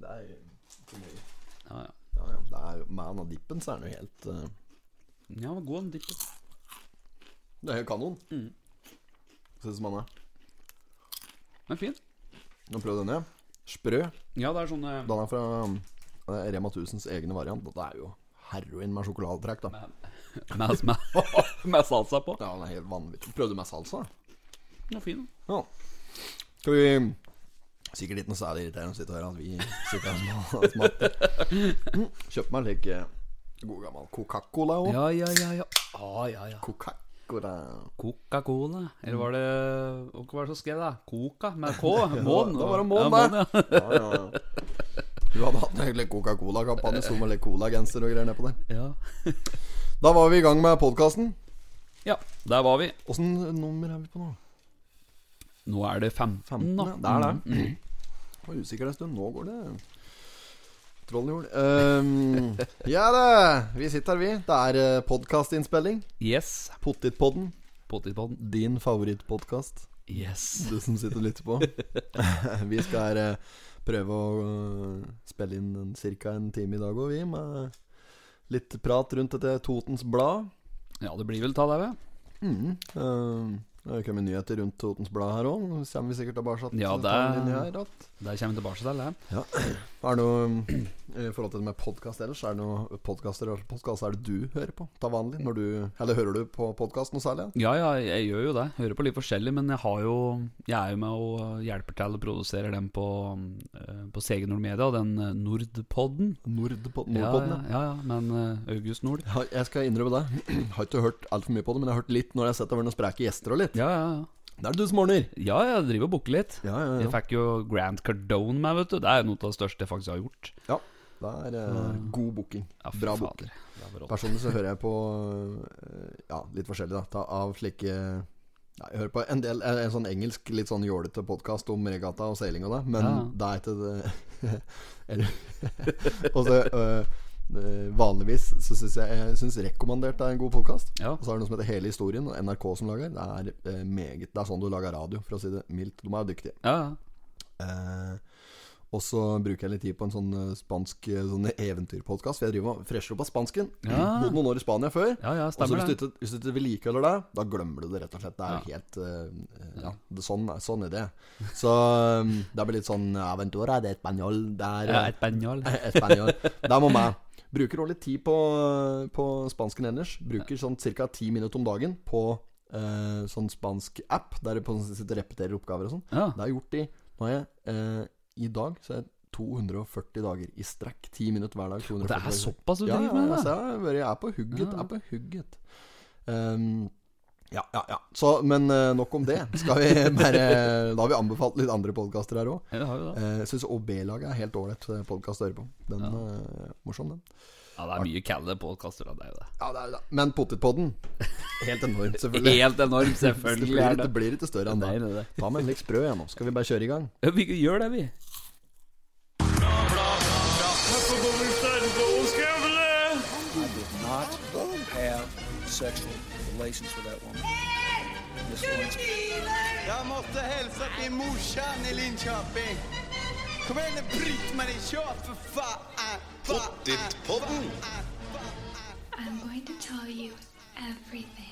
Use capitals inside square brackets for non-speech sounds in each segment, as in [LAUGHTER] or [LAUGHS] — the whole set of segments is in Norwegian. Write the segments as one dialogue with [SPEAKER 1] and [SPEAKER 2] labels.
[SPEAKER 1] Det er for mye.
[SPEAKER 2] Ja, ja.
[SPEAKER 1] Ja, ja. Det er jo Med han og dippen, så er han jo helt eh,
[SPEAKER 2] Ja, han var god, han dippen.
[SPEAKER 1] Det er jo kanon.
[SPEAKER 2] Mm.
[SPEAKER 1] Ser ut som han er.
[SPEAKER 2] Men fin.
[SPEAKER 1] Nå prøv denne. Sprø.
[SPEAKER 2] Ja, det er sånn eh,
[SPEAKER 1] Den er fra eh, Rema 1000s egne variant. Dette er jo heroin med sjokoladetrekk, da.
[SPEAKER 2] med, med, med salsa på.
[SPEAKER 1] Ja, den er helt vanvittig. Prøvde du med salsa?
[SPEAKER 2] Den var fin.
[SPEAKER 1] Ja. Skal vi Sikkert ikke noe særlig irriterende å sitte her at vi sitter her og smatter. Mm. Kjøpte meg en slik eh, god gammel Coca-Cola òg.
[SPEAKER 2] Ja, ja, ja. ja. Ah, ja, ja.
[SPEAKER 1] Coca-Cola.
[SPEAKER 2] Coca-Cola. Eller var det Hva var det som skrev det? Coca med K? Mån?
[SPEAKER 1] Mån, da var det
[SPEAKER 2] [LAUGHS] Ja,
[SPEAKER 1] mån,
[SPEAKER 2] ja.
[SPEAKER 1] det. Ja, ja, ja. Du hadde hatt en hyggelig Coca-Cola-kampanje. Sto med litt Cola-genser og greier nedpå der.
[SPEAKER 2] Ja.
[SPEAKER 1] Da var vi i gang med podkasten.
[SPEAKER 2] ja, der var vi.
[SPEAKER 1] Åssen nummer er vi på nå?
[SPEAKER 2] Nå er det 15,
[SPEAKER 1] 15?
[SPEAKER 2] da. Mm.
[SPEAKER 1] Ja, det er det. Var usikker en stund. Nå går det troll i jord. Ehm, ja da, vi sitter her, vi. Det er podkastinnspilling.
[SPEAKER 2] Yes.
[SPEAKER 1] Pottitpodden.
[SPEAKER 2] Potetpodden.
[SPEAKER 1] Din favorittpodkast,
[SPEAKER 2] Yes.
[SPEAKER 1] du som sitter og lytter på. [LAUGHS] vi skal eh, prøve å eh, spille inn en, cirka en time i dag òg, vi. Med litt prat rundt dette Totens Blad.
[SPEAKER 2] Ja, det blir vel ta deg ved.
[SPEAKER 1] Mm. Uh, det har kommet nyheter rundt Totens Blad her òg. Kommer vi sikkert tilbake til
[SPEAKER 2] Ja, det-
[SPEAKER 1] den linja her, at-
[SPEAKER 2] Der kommer vi tilbake til det.
[SPEAKER 1] Er det noe eh, I forhold til det med podkast ellers, er det noe podkaster podcast, er det du hører på til vanlig? Når du, eller hører du på podkast noe særlig?
[SPEAKER 2] Ja, ja, jeg gjør jo det. Hører på litt forskjellig, men jeg har jo Jeg er jo med og hjelper til og produserer den på, eh, på CG Nord Media, den eh, Nordpodden.
[SPEAKER 1] Nordpodden?
[SPEAKER 2] Ja, ja,
[SPEAKER 1] Nordpodden, ja.
[SPEAKER 2] ja, ja, men eh, August Nord.
[SPEAKER 1] Ja, Jeg skal innrømme det. [CLEARS THROAT] Jeg har ikke hørt altfor mye på det, men jeg har hørt litt når jeg har sett det var noen spreke gjester og litt.
[SPEAKER 2] Ja, ja, ja.
[SPEAKER 1] Det er det du som ordner!
[SPEAKER 2] Ja, jeg driver og booker litt.
[SPEAKER 1] Ja, ja,
[SPEAKER 2] Jeg
[SPEAKER 1] ja.
[SPEAKER 2] fikk jo Grand Cardone med, vet du. Det er noe av det største jeg faktisk har gjort.
[SPEAKER 1] Det er eh, god booking.
[SPEAKER 2] Ja, fy
[SPEAKER 1] Bra
[SPEAKER 2] fader.
[SPEAKER 1] booking.
[SPEAKER 2] Det er rått.
[SPEAKER 1] Personlig så hører jeg på eh, Ja, litt forskjellig, da. Ta av slike ja, Jeg hører på en del eh, en sånn engelsk, litt sånn jålete podkast om regatta og seiling og det, men
[SPEAKER 2] Ja.
[SPEAKER 1] det er ikke det [LAUGHS] Eller- Og så eh, eh, Vanligvis så syns jeg, jeg synes Rekommandert er en god podkast.
[SPEAKER 2] Ja.
[SPEAKER 1] Og så er det noe som heter Hele historien, og NRK som lager. Det er eh, meget Det er sånn du lager radio, for å si det mildt. De er jo dyktige.
[SPEAKER 2] ja,
[SPEAKER 1] Eh, og så bruker jeg litt tid på en sånn eh, spansk eh, sånn eventyrpodkast. For jeg driver og fresher opp av spansken.
[SPEAKER 2] Ja.
[SPEAKER 1] Bodde noen år i Spania før.
[SPEAKER 2] ja, ja,
[SPEAKER 1] Og så
[SPEAKER 2] stemmer
[SPEAKER 1] hvis du
[SPEAKER 2] det.
[SPEAKER 1] ikke- hvis du ikke vedlikeholder det, da glemmer du det rett og slett. Det er jo helt eh, Ja, det, sånn, er- sånn er
[SPEAKER 2] [LAUGHS]
[SPEAKER 1] det. Så um, det blir litt sånn Aventura de español. Det er
[SPEAKER 2] Ja,
[SPEAKER 1] eh, [LAUGHS]
[SPEAKER 2] et banjal.
[SPEAKER 1] español. Der må meg. Bruker også litt tid på, på spansken ellers. Bruker sånn ca. ti minutter om dagen på eh, sånn spansk app, der du på- sitter og repeterer oppgaver og sånn.
[SPEAKER 2] Ja.
[SPEAKER 1] Det har jeg gjort i Nå har jeg eh, I dag så er jeg 240 dager i strekk. 10 minutter hver dag. 240
[SPEAKER 2] Det er såpass du
[SPEAKER 1] ja,
[SPEAKER 2] driver
[SPEAKER 1] ja,
[SPEAKER 2] med
[SPEAKER 1] altså,
[SPEAKER 2] det?
[SPEAKER 1] jeg, har vært- jeg er på hugget.
[SPEAKER 2] Ja.
[SPEAKER 1] Jeg er på hugget. Ehm, ja, ja, ja. Så, men eh, nok om det. Skal vi bare Da har vi anbefalt litt andre podkaster her òg.
[SPEAKER 2] Ja, det har jo det.
[SPEAKER 1] Jeg syns OB-laget er helt ålreit podkast å høre på. Den eh, morsom, den.
[SPEAKER 2] Ja, det er mye kalde podkaster, da. Det er jo det.
[SPEAKER 1] Ja, det er, det er- men Pottitpodden Helt enorm, selvfølgelig.
[SPEAKER 2] Helt enormt,
[SPEAKER 1] [LAUGHS] Det
[SPEAKER 2] selvfølgelig
[SPEAKER 1] blir,
[SPEAKER 2] er det.
[SPEAKER 1] det blir ikke større enn
[SPEAKER 2] Nei,
[SPEAKER 1] det.
[SPEAKER 2] det, er det.
[SPEAKER 1] Ta med en litt sprø igjen nå. Skal vi bare kjøre i gang?
[SPEAKER 2] Ja, Vi gjør det, vi.
[SPEAKER 3] not have sexual relations with that woman. Miss Lewinsky.
[SPEAKER 4] Jeg måtte hilse til morsan i Linköping. Kom igjen, Britt-Marie, kjør for faen! Pottitpodden!
[SPEAKER 5] I'm going to tell you everything.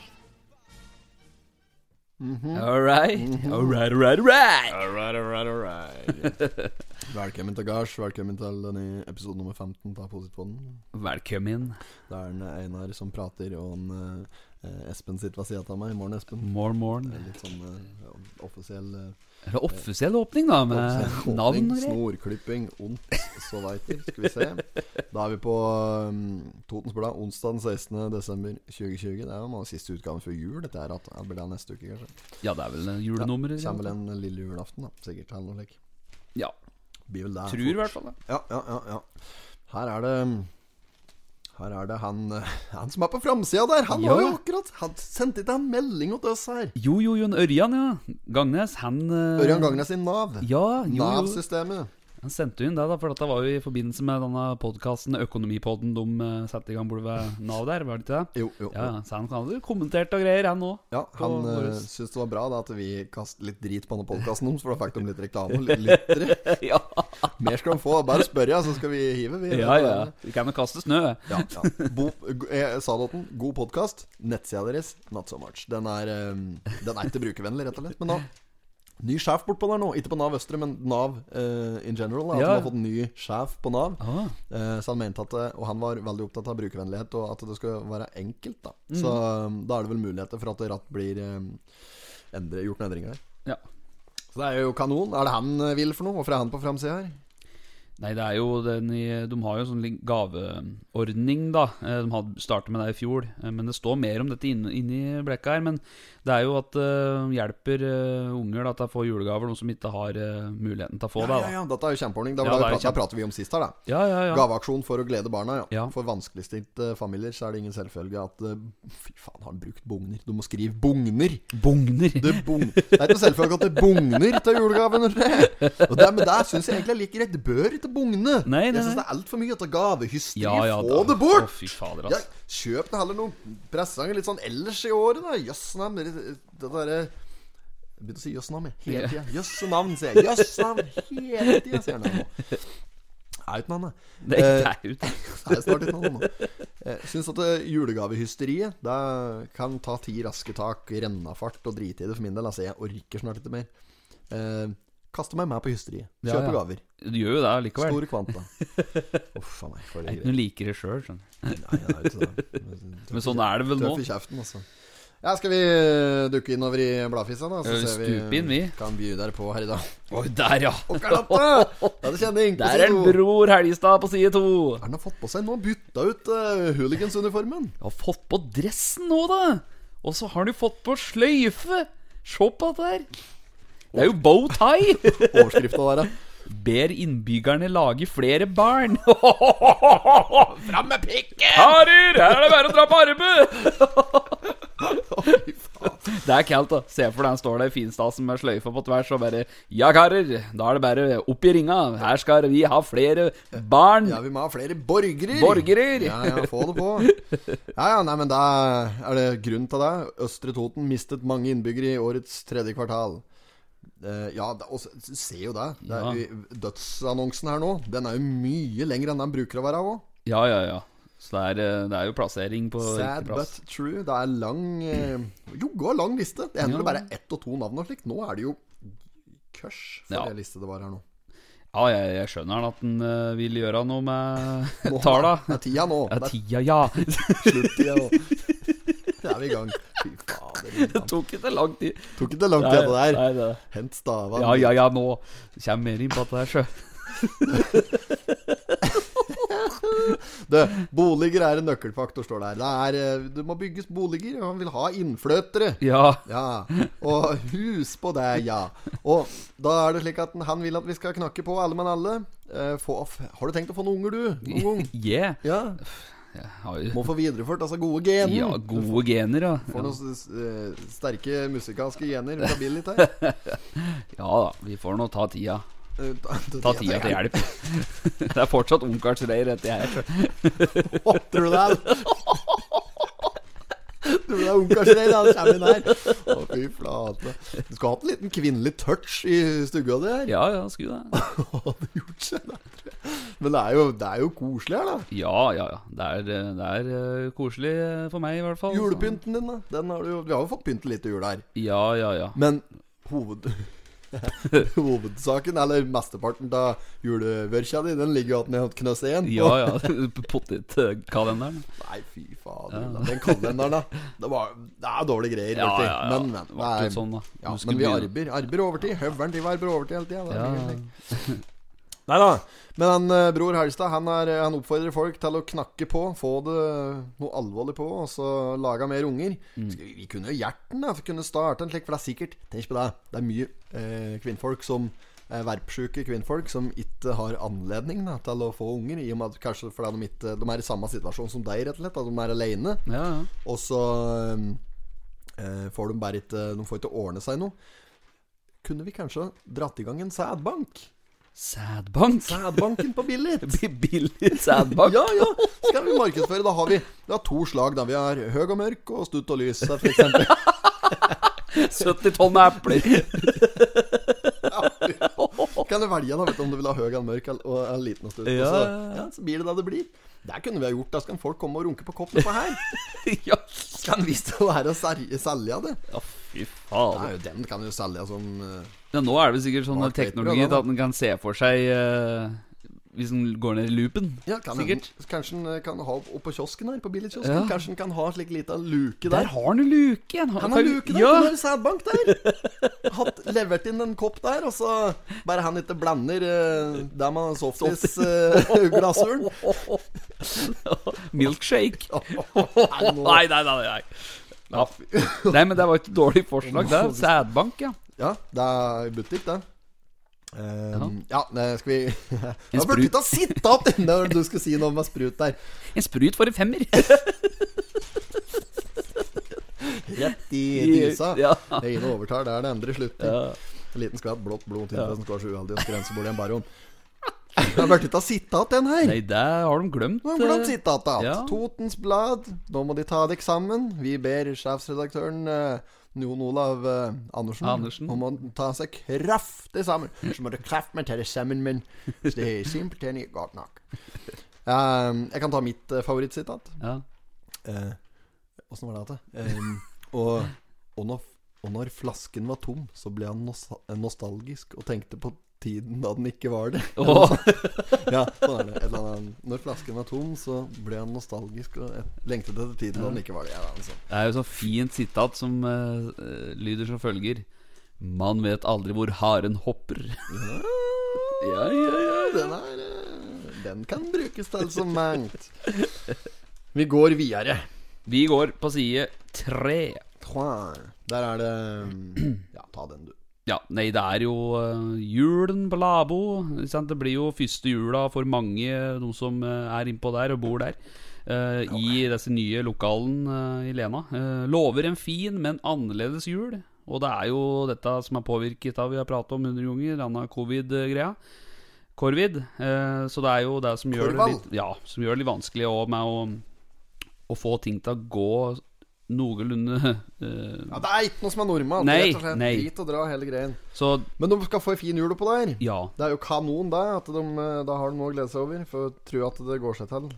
[SPEAKER 2] All right. All right, all right, all right.
[SPEAKER 1] Alright, alright, alright. Velkommen til gards. Velkommen til denne episode nummer 15 av Positpodden.
[SPEAKER 2] Velkommen.
[SPEAKER 1] Det er en Einar som prater, og en, eh, Espen sitter ved sida av meg. I morgen, Espen.
[SPEAKER 2] Morn, morn.
[SPEAKER 1] Det er Litt sånn eh, ja, offisiell eh,
[SPEAKER 2] Er det offisiell åpning, da? Med
[SPEAKER 1] offisiell
[SPEAKER 2] navn
[SPEAKER 1] åpning,
[SPEAKER 2] og greier?
[SPEAKER 1] Snorklipping, ondt, så veiter. Skal vi se. Da er vi på um, Totens Blad onsdag den 16. desember 2020. Det er jo mange siste utgaven før jul. Dette er at ja, det blir da neste uke, kanskje.
[SPEAKER 2] Ja, det er vel eh, julenummeret?
[SPEAKER 1] Kommer vel en lille julaften, da. Sikkert. Eller noe slikt.
[SPEAKER 2] Ja.
[SPEAKER 1] Blir vel der.
[SPEAKER 2] Tror i hvert fall det.
[SPEAKER 1] Ja, ja, ja, ja. Her er det Her er det han Han som er på framsida der! Han
[SPEAKER 2] Ja.
[SPEAKER 1] har jo akkurat Han sendte ikke en melding til oss her!
[SPEAKER 2] Jo, jo, jo, en Ørjan, ja. Gangnes, han eh,
[SPEAKER 1] Ørjan Gangnes i Nav.
[SPEAKER 2] Ja, jo, jo.
[SPEAKER 1] Nav-systemet.
[SPEAKER 2] Han sendte jo inn det, da, for dette var jo i forbindelse med denne podkasten Økonomipodden de eh, satte i gang borte ved Nav der, var det ikke det?
[SPEAKER 1] Jo, jo.
[SPEAKER 2] Ja, ja, så han hadde kommentert og greier, han òg.
[SPEAKER 1] Ja, han
[SPEAKER 2] på
[SPEAKER 1] uh,
[SPEAKER 2] våres.
[SPEAKER 1] syntes det var bra da, at vi kastet litt drit på denne podkasten deres, for da fikk de litt reklame og litt lyttere.
[SPEAKER 2] [LAUGHS] ja,
[SPEAKER 1] Mer skal de få. Bare spørre, ja, så skal vi hive. Vi
[SPEAKER 2] ja, ja. Vi kan jo kaste snø.
[SPEAKER 1] Ja, ja. Bo, eh, Sadåten, god podkast. Nettsida deres, not so much. Den er, eh, den er ikke brukervennlig, rett og slett. Men da Ny sjef bortpå der nå. Ikke på Nav Østre, men Nav eh, in general. da, At
[SPEAKER 2] Ja.
[SPEAKER 1] de har fått ny sjef på Nav.
[SPEAKER 2] Ah.
[SPEAKER 1] Eh, så han mente at det- Og han var veldig opptatt av brukervennlighet, og at det skulle være enkelt, da.
[SPEAKER 2] Mm.
[SPEAKER 1] Så eh, da er det vel muligheter for at det ratt blir eh, endre, gjort noen endringer der.
[SPEAKER 2] Ja.
[SPEAKER 1] Så det er jo kanon. Er det han eh, vil for noe? Hvorfor er han på framsida her?
[SPEAKER 2] Nei, det er jo den i De har jo en sånn li- gaveordning, da. Eh, De hadde startet med det i fjor. eh, Men det står mer om dette inn- inni blekka her. Men det er jo at det hjelper eh, unger da, til å få julegaver, noen som ikke har eh, muligheten til å få
[SPEAKER 1] Ja,
[SPEAKER 2] det.
[SPEAKER 1] ja,
[SPEAKER 2] da.
[SPEAKER 1] ja, dette er jo kjempeordning. Da
[SPEAKER 2] Ja,
[SPEAKER 1] ble
[SPEAKER 2] det er
[SPEAKER 1] det
[SPEAKER 2] kjempe-
[SPEAKER 1] prat- da prater vi om sist her, da.
[SPEAKER 2] Ja, ja, ja.
[SPEAKER 1] Gaveaksjon for å glede barna, ja.
[SPEAKER 2] Ja.
[SPEAKER 1] For vanskeligstilte eh, familier så er det ingen selvfølge at eh, Fy faen, har han brukt bugner? Du må skrive 'bugner'.
[SPEAKER 2] Bugner!
[SPEAKER 1] Det, bung... det er ikke selvfølgelig at det bugner til julegaven. Og det, men det syns jeg egentlig er like greit. Det bør ikke bugne.
[SPEAKER 2] Nei, nei,
[SPEAKER 1] jeg syns
[SPEAKER 2] nei.
[SPEAKER 1] det er altfor mye av gavehysteri.
[SPEAKER 2] [LAUGHS] Ja, ja,
[SPEAKER 1] Få
[SPEAKER 2] da-
[SPEAKER 1] det bort!
[SPEAKER 2] Å, fy fader,
[SPEAKER 1] Ja,
[SPEAKER 2] ass.
[SPEAKER 1] kjøp det heller noen presanger litt sånn ellers i året, da. Jøssnam. Det derre Jeg begynte å si jøssnam, jeg. Hele tida. Jøssenavn, sier jeg. Jøssnavn hele tida, sier han nå. Er jo ikke noe annet.
[SPEAKER 2] Det
[SPEAKER 1] Eh,
[SPEAKER 2] er ikke ut.
[SPEAKER 1] [LAUGHS] Det er snart ikke noe annet. Jeg syns at eh, julegavehysteriet Det kan ta ti raske tak, rennafart og drite i det for min del. Altså, jeg orker snart ikke mer. Eh, kaste meg med på hysteriet.
[SPEAKER 2] Ja,
[SPEAKER 1] Kjøpe
[SPEAKER 2] ja.
[SPEAKER 1] gaver.
[SPEAKER 2] Du gjør jo det likevel.
[SPEAKER 1] Store kvanta.
[SPEAKER 2] [LAUGHS]
[SPEAKER 1] Uff a meg, for det
[SPEAKER 2] Jeg er ikke
[SPEAKER 1] greier.
[SPEAKER 2] noe liker det sjøl, skjønner du.
[SPEAKER 1] Nei, det er ikke det.
[SPEAKER 2] Men sånn er det vel nå.
[SPEAKER 1] Tøff i kjeften, altså. Ja, skal vi eh, dukke innover i bladfissa, da?
[SPEAKER 2] Ja, vi stuper inn, vi.
[SPEAKER 1] Kan by dere på her i dag.
[SPEAKER 2] Oi, der, ja!
[SPEAKER 1] Å, [LAUGHS] Karlotte! Da er det kjenning. på
[SPEAKER 2] Der er en
[SPEAKER 1] side to.
[SPEAKER 2] Bror Helgestad på side to.
[SPEAKER 1] Hva er det Han har fått på seg nå bytta ut eh, hooligans-uniformen.
[SPEAKER 2] Du har fått på dressen nå, da! Og så har du fått på sløyfe! Se på dette her! Det er jo bow tie!
[SPEAKER 1] Overskrifta der, ja.
[SPEAKER 2] Ber innbyggerne lage flere barn.
[SPEAKER 1] [LAUGHS] Fram med pikken!
[SPEAKER 2] Karer, her er det bare å dra på arbeid!
[SPEAKER 1] [LAUGHS]
[SPEAKER 2] Det er kaldt, da. Se for deg han står der i finstasen med sløyfa på tvers og bare Ja, karer, da er det bare opp i ringa. Her skal vi ha flere barn.
[SPEAKER 1] Ja, vi må ha flere borgere.
[SPEAKER 2] Borgerer.
[SPEAKER 1] Ja, ja, få det på. Ja, ja, nei, men da er det grunn til det. Østre Toten mistet mange innbyggere i årets tredje kvartal. Eh, ja, da- og se se jo det. det er, Dødsannonsen her nå, den er jo mye lengre enn den bruker å være òg.
[SPEAKER 2] Ja, ja, ja. Så det er, eh, det er jo plassering på
[SPEAKER 1] Sad
[SPEAKER 2] riktig plass.
[SPEAKER 1] but true. Det er lang eh, Jogga lang liste. Det hender det bare er ett og to navn og slikt. Nå er det jo kørs for
[SPEAKER 2] Ja.
[SPEAKER 1] det liste det var her nå.
[SPEAKER 2] Ja, jeg, jeg skjønner han at han eh, vil gjøre noe
[SPEAKER 1] [LAUGHS]
[SPEAKER 2] med
[SPEAKER 1] Nå-
[SPEAKER 2] tala.
[SPEAKER 1] Det er tida nå.
[SPEAKER 2] Ja,
[SPEAKER 1] Det er
[SPEAKER 2] tida, ja. [LAUGHS]
[SPEAKER 1] sluttida nå. [LAUGHS] Da er vi i gang. Fy
[SPEAKER 2] [LAUGHS]
[SPEAKER 1] fader.
[SPEAKER 2] Det tok ikke lang tid.
[SPEAKER 1] Tok ikke lang
[SPEAKER 2] Nei,
[SPEAKER 1] tid, det der.
[SPEAKER 2] nei, det-
[SPEAKER 1] Hent stava.
[SPEAKER 2] Ja, ja, ja, nå kommer mer inn på dette her, sjø.
[SPEAKER 1] Du, boliger er en nøkkelfaktor, står det her. Det er, eh, det må bygges boliger, og han vil ha innfløtere.
[SPEAKER 2] Ja.
[SPEAKER 1] Ja, og hus på det, ja. Og da er det slik at han vil at vi skal knakke på alle mann alle. Eh, Få, har du tenkt å få noen unger, du? Noen gang?
[SPEAKER 2] Yeah.
[SPEAKER 1] Ja.
[SPEAKER 2] Har jo-
[SPEAKER 1] Må få videreført altså gode gener.
[SPEAKER 2] Ja, gode gener, ja.
[SPEAKER 1] Får noen eh, sterke musikalske gener fra Billy her.
[SPEAKER 2] Ja da, vi får nå ta tida.
[SPEAKER 1] Eh, ta-
[SPEAKER 2] Ta tida til hjelp. [LAUGHS] Det er fortsatt ungkarsreir etter jeg her. sjø.
[SPEAKER 1] Å, Tror du det? er- [LAUGHS] Tror du det er ungkarsreir? Han kommer inn her. Å, fy flate. Du skulle hatt en liten kvinnelig touch i stua di her.
[SPEAKER 2] Ja, ja, sku det.
[SPEAKER 1] Hadde gjort seg der, tror jeg. Men det er jo, det er jo koselig her, da.
[SPEAKER 2] Ja, ja, ja. Det er, eh, det er eh, koselig eh, for meg, i hvert fall.
[SPEAKER 1] Julepynten din, da. Den har du, jo- vi har jo fått pynte litt til jul her.
[SPEAKER 2] Ja, ja, ja.
[SPEAKER 1] Men hoved... [LAUGHS] Hovedsaken, eller mesteparten av julevørkja di, den ligger jo igjen i knøs én.
[SPEAKER 2] Ja, ja. [LAUGHS] Potetkalenderen.
[SPEAKER 1] Nei, fy fader. Ulla. Den kalenderen, da. Det, var, det er dårlige greier.
[SPEAKER 2] Ja,
[SPEAKER 1] vet du.
[SPEAKER 2] ja, ja.
[SPEAKER 1] Men, men.
[SPEAKER 2] Det var
[SPEAKER 1] det
[SPEAKER 2] ikke
[SPEAKER 1] er-
[SPEAKER 2] sånn, da.
[SPEAKER 1] Ja,
[SPEAKER 2] Du skulle
[SPEAKER 1] men vi
[SPEAKER 2] begynne.
[SPEAKER 1] arbeider arbeider overtid. Høvelen driver arbeider overtid hele tida.
[SPEAKER 2] Ja. [LAUGHS]
[SPEAKER 1] Nei da. Men han, eh, bror Helstad han, er, eh, han oppfordrer folk til å knakke på, få det noe alvorlig på, og så lage mer unger.
[SPEAKER 2] Mm.
[SPEAKER 1] Skal vi, vi kunne jo gjort den, da. Vi kunne starte en slik, for det er sikkert Tenk på det. Det er mye eh, kvinnfolk som eh, Verpsjuke kvinnfolk som ikke har anledning da, til å få unger. I og med at Kanskje fordi de, ikke, de er i samme situasjon som deg, rett og slett. At de er aleine.
[SPEAKER 2] Ja, ja.
[SPEAKER 1] Og så um, eh, får de bare ikke De får ikke ordne seg noe. Kunne vi kanskje dratt i gang en sædbank?
[SPEAKER 2] Sædbank. [LAUGHS]
[SPEAKER 1] Sædbanken på Billit.
[SPEAKER 2] Billig sædbank.
[SPEAKER 1] [LAUGHS] Ja, ja. Skal vi markedsføre. Da har vi, vi har to slag. da Vi har høg og mørk og stutt og lys. For eksempel.
[SPEAKER 2] 70 tonn
[SPEAKER 1] [LAUGHS]
[SPEAKER 2] med epler.
[SPEAKER 1] kan du velge da, vet du, om du vil ha høg eller mørk eller- og eller liten og stutt.
[SPEAKER 2] Ja.
[SPEAKER 1] Og så, ja, så blir det det det blir. Det kunne vi ha gjort. Da skal folk komme og runke på koppen på her.
[SPEAKER 2] ja.
[SPEAKER 1] Skal vi stå her og ser- selge det?
[SPEAKER 2] ja, fy faen.
[SPEAKER 1] Nei, den kan jo selge som eh,
[SPEAKER 2] Ja, nå er det vel sikkert sånn
[SPEAKER 1] Smart paper,
[SPEAKER 2] teknologi
[SPEAKER 1] ja, da.
[SPEAKER 2] at den kan se for seg eh, Hvis den går ned i loopen.
[SPEAKER 1] ja, kan
[SPEAKER 2] Sikkert.
[SPEAKER 1] Den, kanskje den eh, kan ha opp på kiosken her, på billigkiosken.
[SPEAKER 2] Ja.
[SPEAKER 1] Kanskje den kan ha slik lita luke
[SPEAKER 2] Der
[SPEAKER 1] der.
[SPEAKER 2] har han jo luke! Han
[SPEAKER 1] Han har luke der,
[SPEAKER 2] Ja.
[SPEAKER 1] den har sædbank der. [LAUGHS] Hatt, levert inn en kopp der, og så bare han ikke blander eh, det med eh, [LAUGHS] softis-glasuren.
[SPEAKER 2] Milkshake.
[SPEAKER 1] nei, nå-
[SPEAKER 2] [LAUGHS] nei, nei, nei. nei. Ja. nei, men det var ikke et dårlig forslag. Det er sædbank, ja.
[SPEAKER 1] Ja, det er butikk, det. Ehm, ja, nei, skal vi [LAUGHS] Jeg burde
[SPEAKER 2] sprut.
[SPEAKER 1] ikke ha sittet opp når du skulle si noe med sprut der.
[SPEAKER 2] En sprut for en femmer.
[SPEAKER 1] Rett [LAUGHS] i dysa.
[SPEAKER 2] [LAUGHS] Ja.
[SPEAKER 1] Det ene overtar der det andre slutter.
[SPEAKER 2] Ja.
[SPEAKER 1] En liten skvett blått blod til for at den skal være så uheldig å skrense bort i en baron. Jeg burde ikke ha sittet igjen den her.
[SPEAKER 2] Nei, det har de glemt.
[SPEAKER 1] Nå har de
[SPEAKER 2] eh,
[SPEAKER 1] sittet igjen.
[SPEAKER 2] ja.
[SPEAKER 1] Totens Blad, nå må de ta deg sammen. Vi ber sjefsredaktøren eh, Jon Olav eh, Andersen,
[SPEAKER 2] Andersen.
[SPEAKER 1] om å ta seg kraftig sammen. Så må du krafte meg til det sammen, men det er simpelthen ikke godt nok. Um, jeg kan ta mitt uh, favorittsitat.
[SPEAKER 2] Ja.
[SPEAKER 1] Eh, Åssen var det igjen? Um, og, og, når- og når flasken var tom, så ble han nos eh, nostalgisk og tenkte på tiden da den ikke var det.
[SPEAKER 2] [LAUGHS] Åh.
[SPEAKER 1] ja, sånn er det. Et eller annet. Når flasken var tom, så ble han nostalgisk og et- lengtet etter tiden da den ikke var det. Ja, det er sånn.
[SPEAKER 2] Det er jo sånn fint sitat som eh, eh, lyder som følger Man vet aldri hvor haren hopper. ja, ja, ja.
[SPEAKER 1] Den, er, eh, den kan brukes til så mangt. Vi går videre.
[SPEAKER 2] Vi går på side tre.
[SPEAKER 1] Der er det um, Ja, ta den, du.
[SPEAKER 2] Ja, nei, det er jo eh, julen på Labo. ikke sant? Det blir jo første jula for mange, de som eh, er innpå der og bor der. eh, I disse nye lokalene eh, i Lena. Eh, lover en fin, men annerledes jul. Og det er jo dette som er påvirket av vi har pratet om hundre ganger, denne covid-greia. Korvid. eh, så det er jo det som gjør det
[SPEAKER 1] Korval.
[SPEAKER 2] litt, ja, som gjør det litt vanskelig også med å, å få ting til å gå noenlunde [LAUGHS] eh,
[SPEAKER 1] Ja, det er ikke noe som er normalt.
[SPEAKER 2] Nei,
[SPEAKER 1] rett og slett.
[SPEAKER 2] nei.
[SPEAKER 1] Drit og dra hele greien.
[SPEAKER 2] Så
[SPEAKER 1] Men de skal få ei fin jul oppå der.
[SPEAKER 2] ja.
[SPEAKER 1] Det er jo kanon, det. At de, eh, da har de noe å glede seg over. For jeg tror at det går seg til.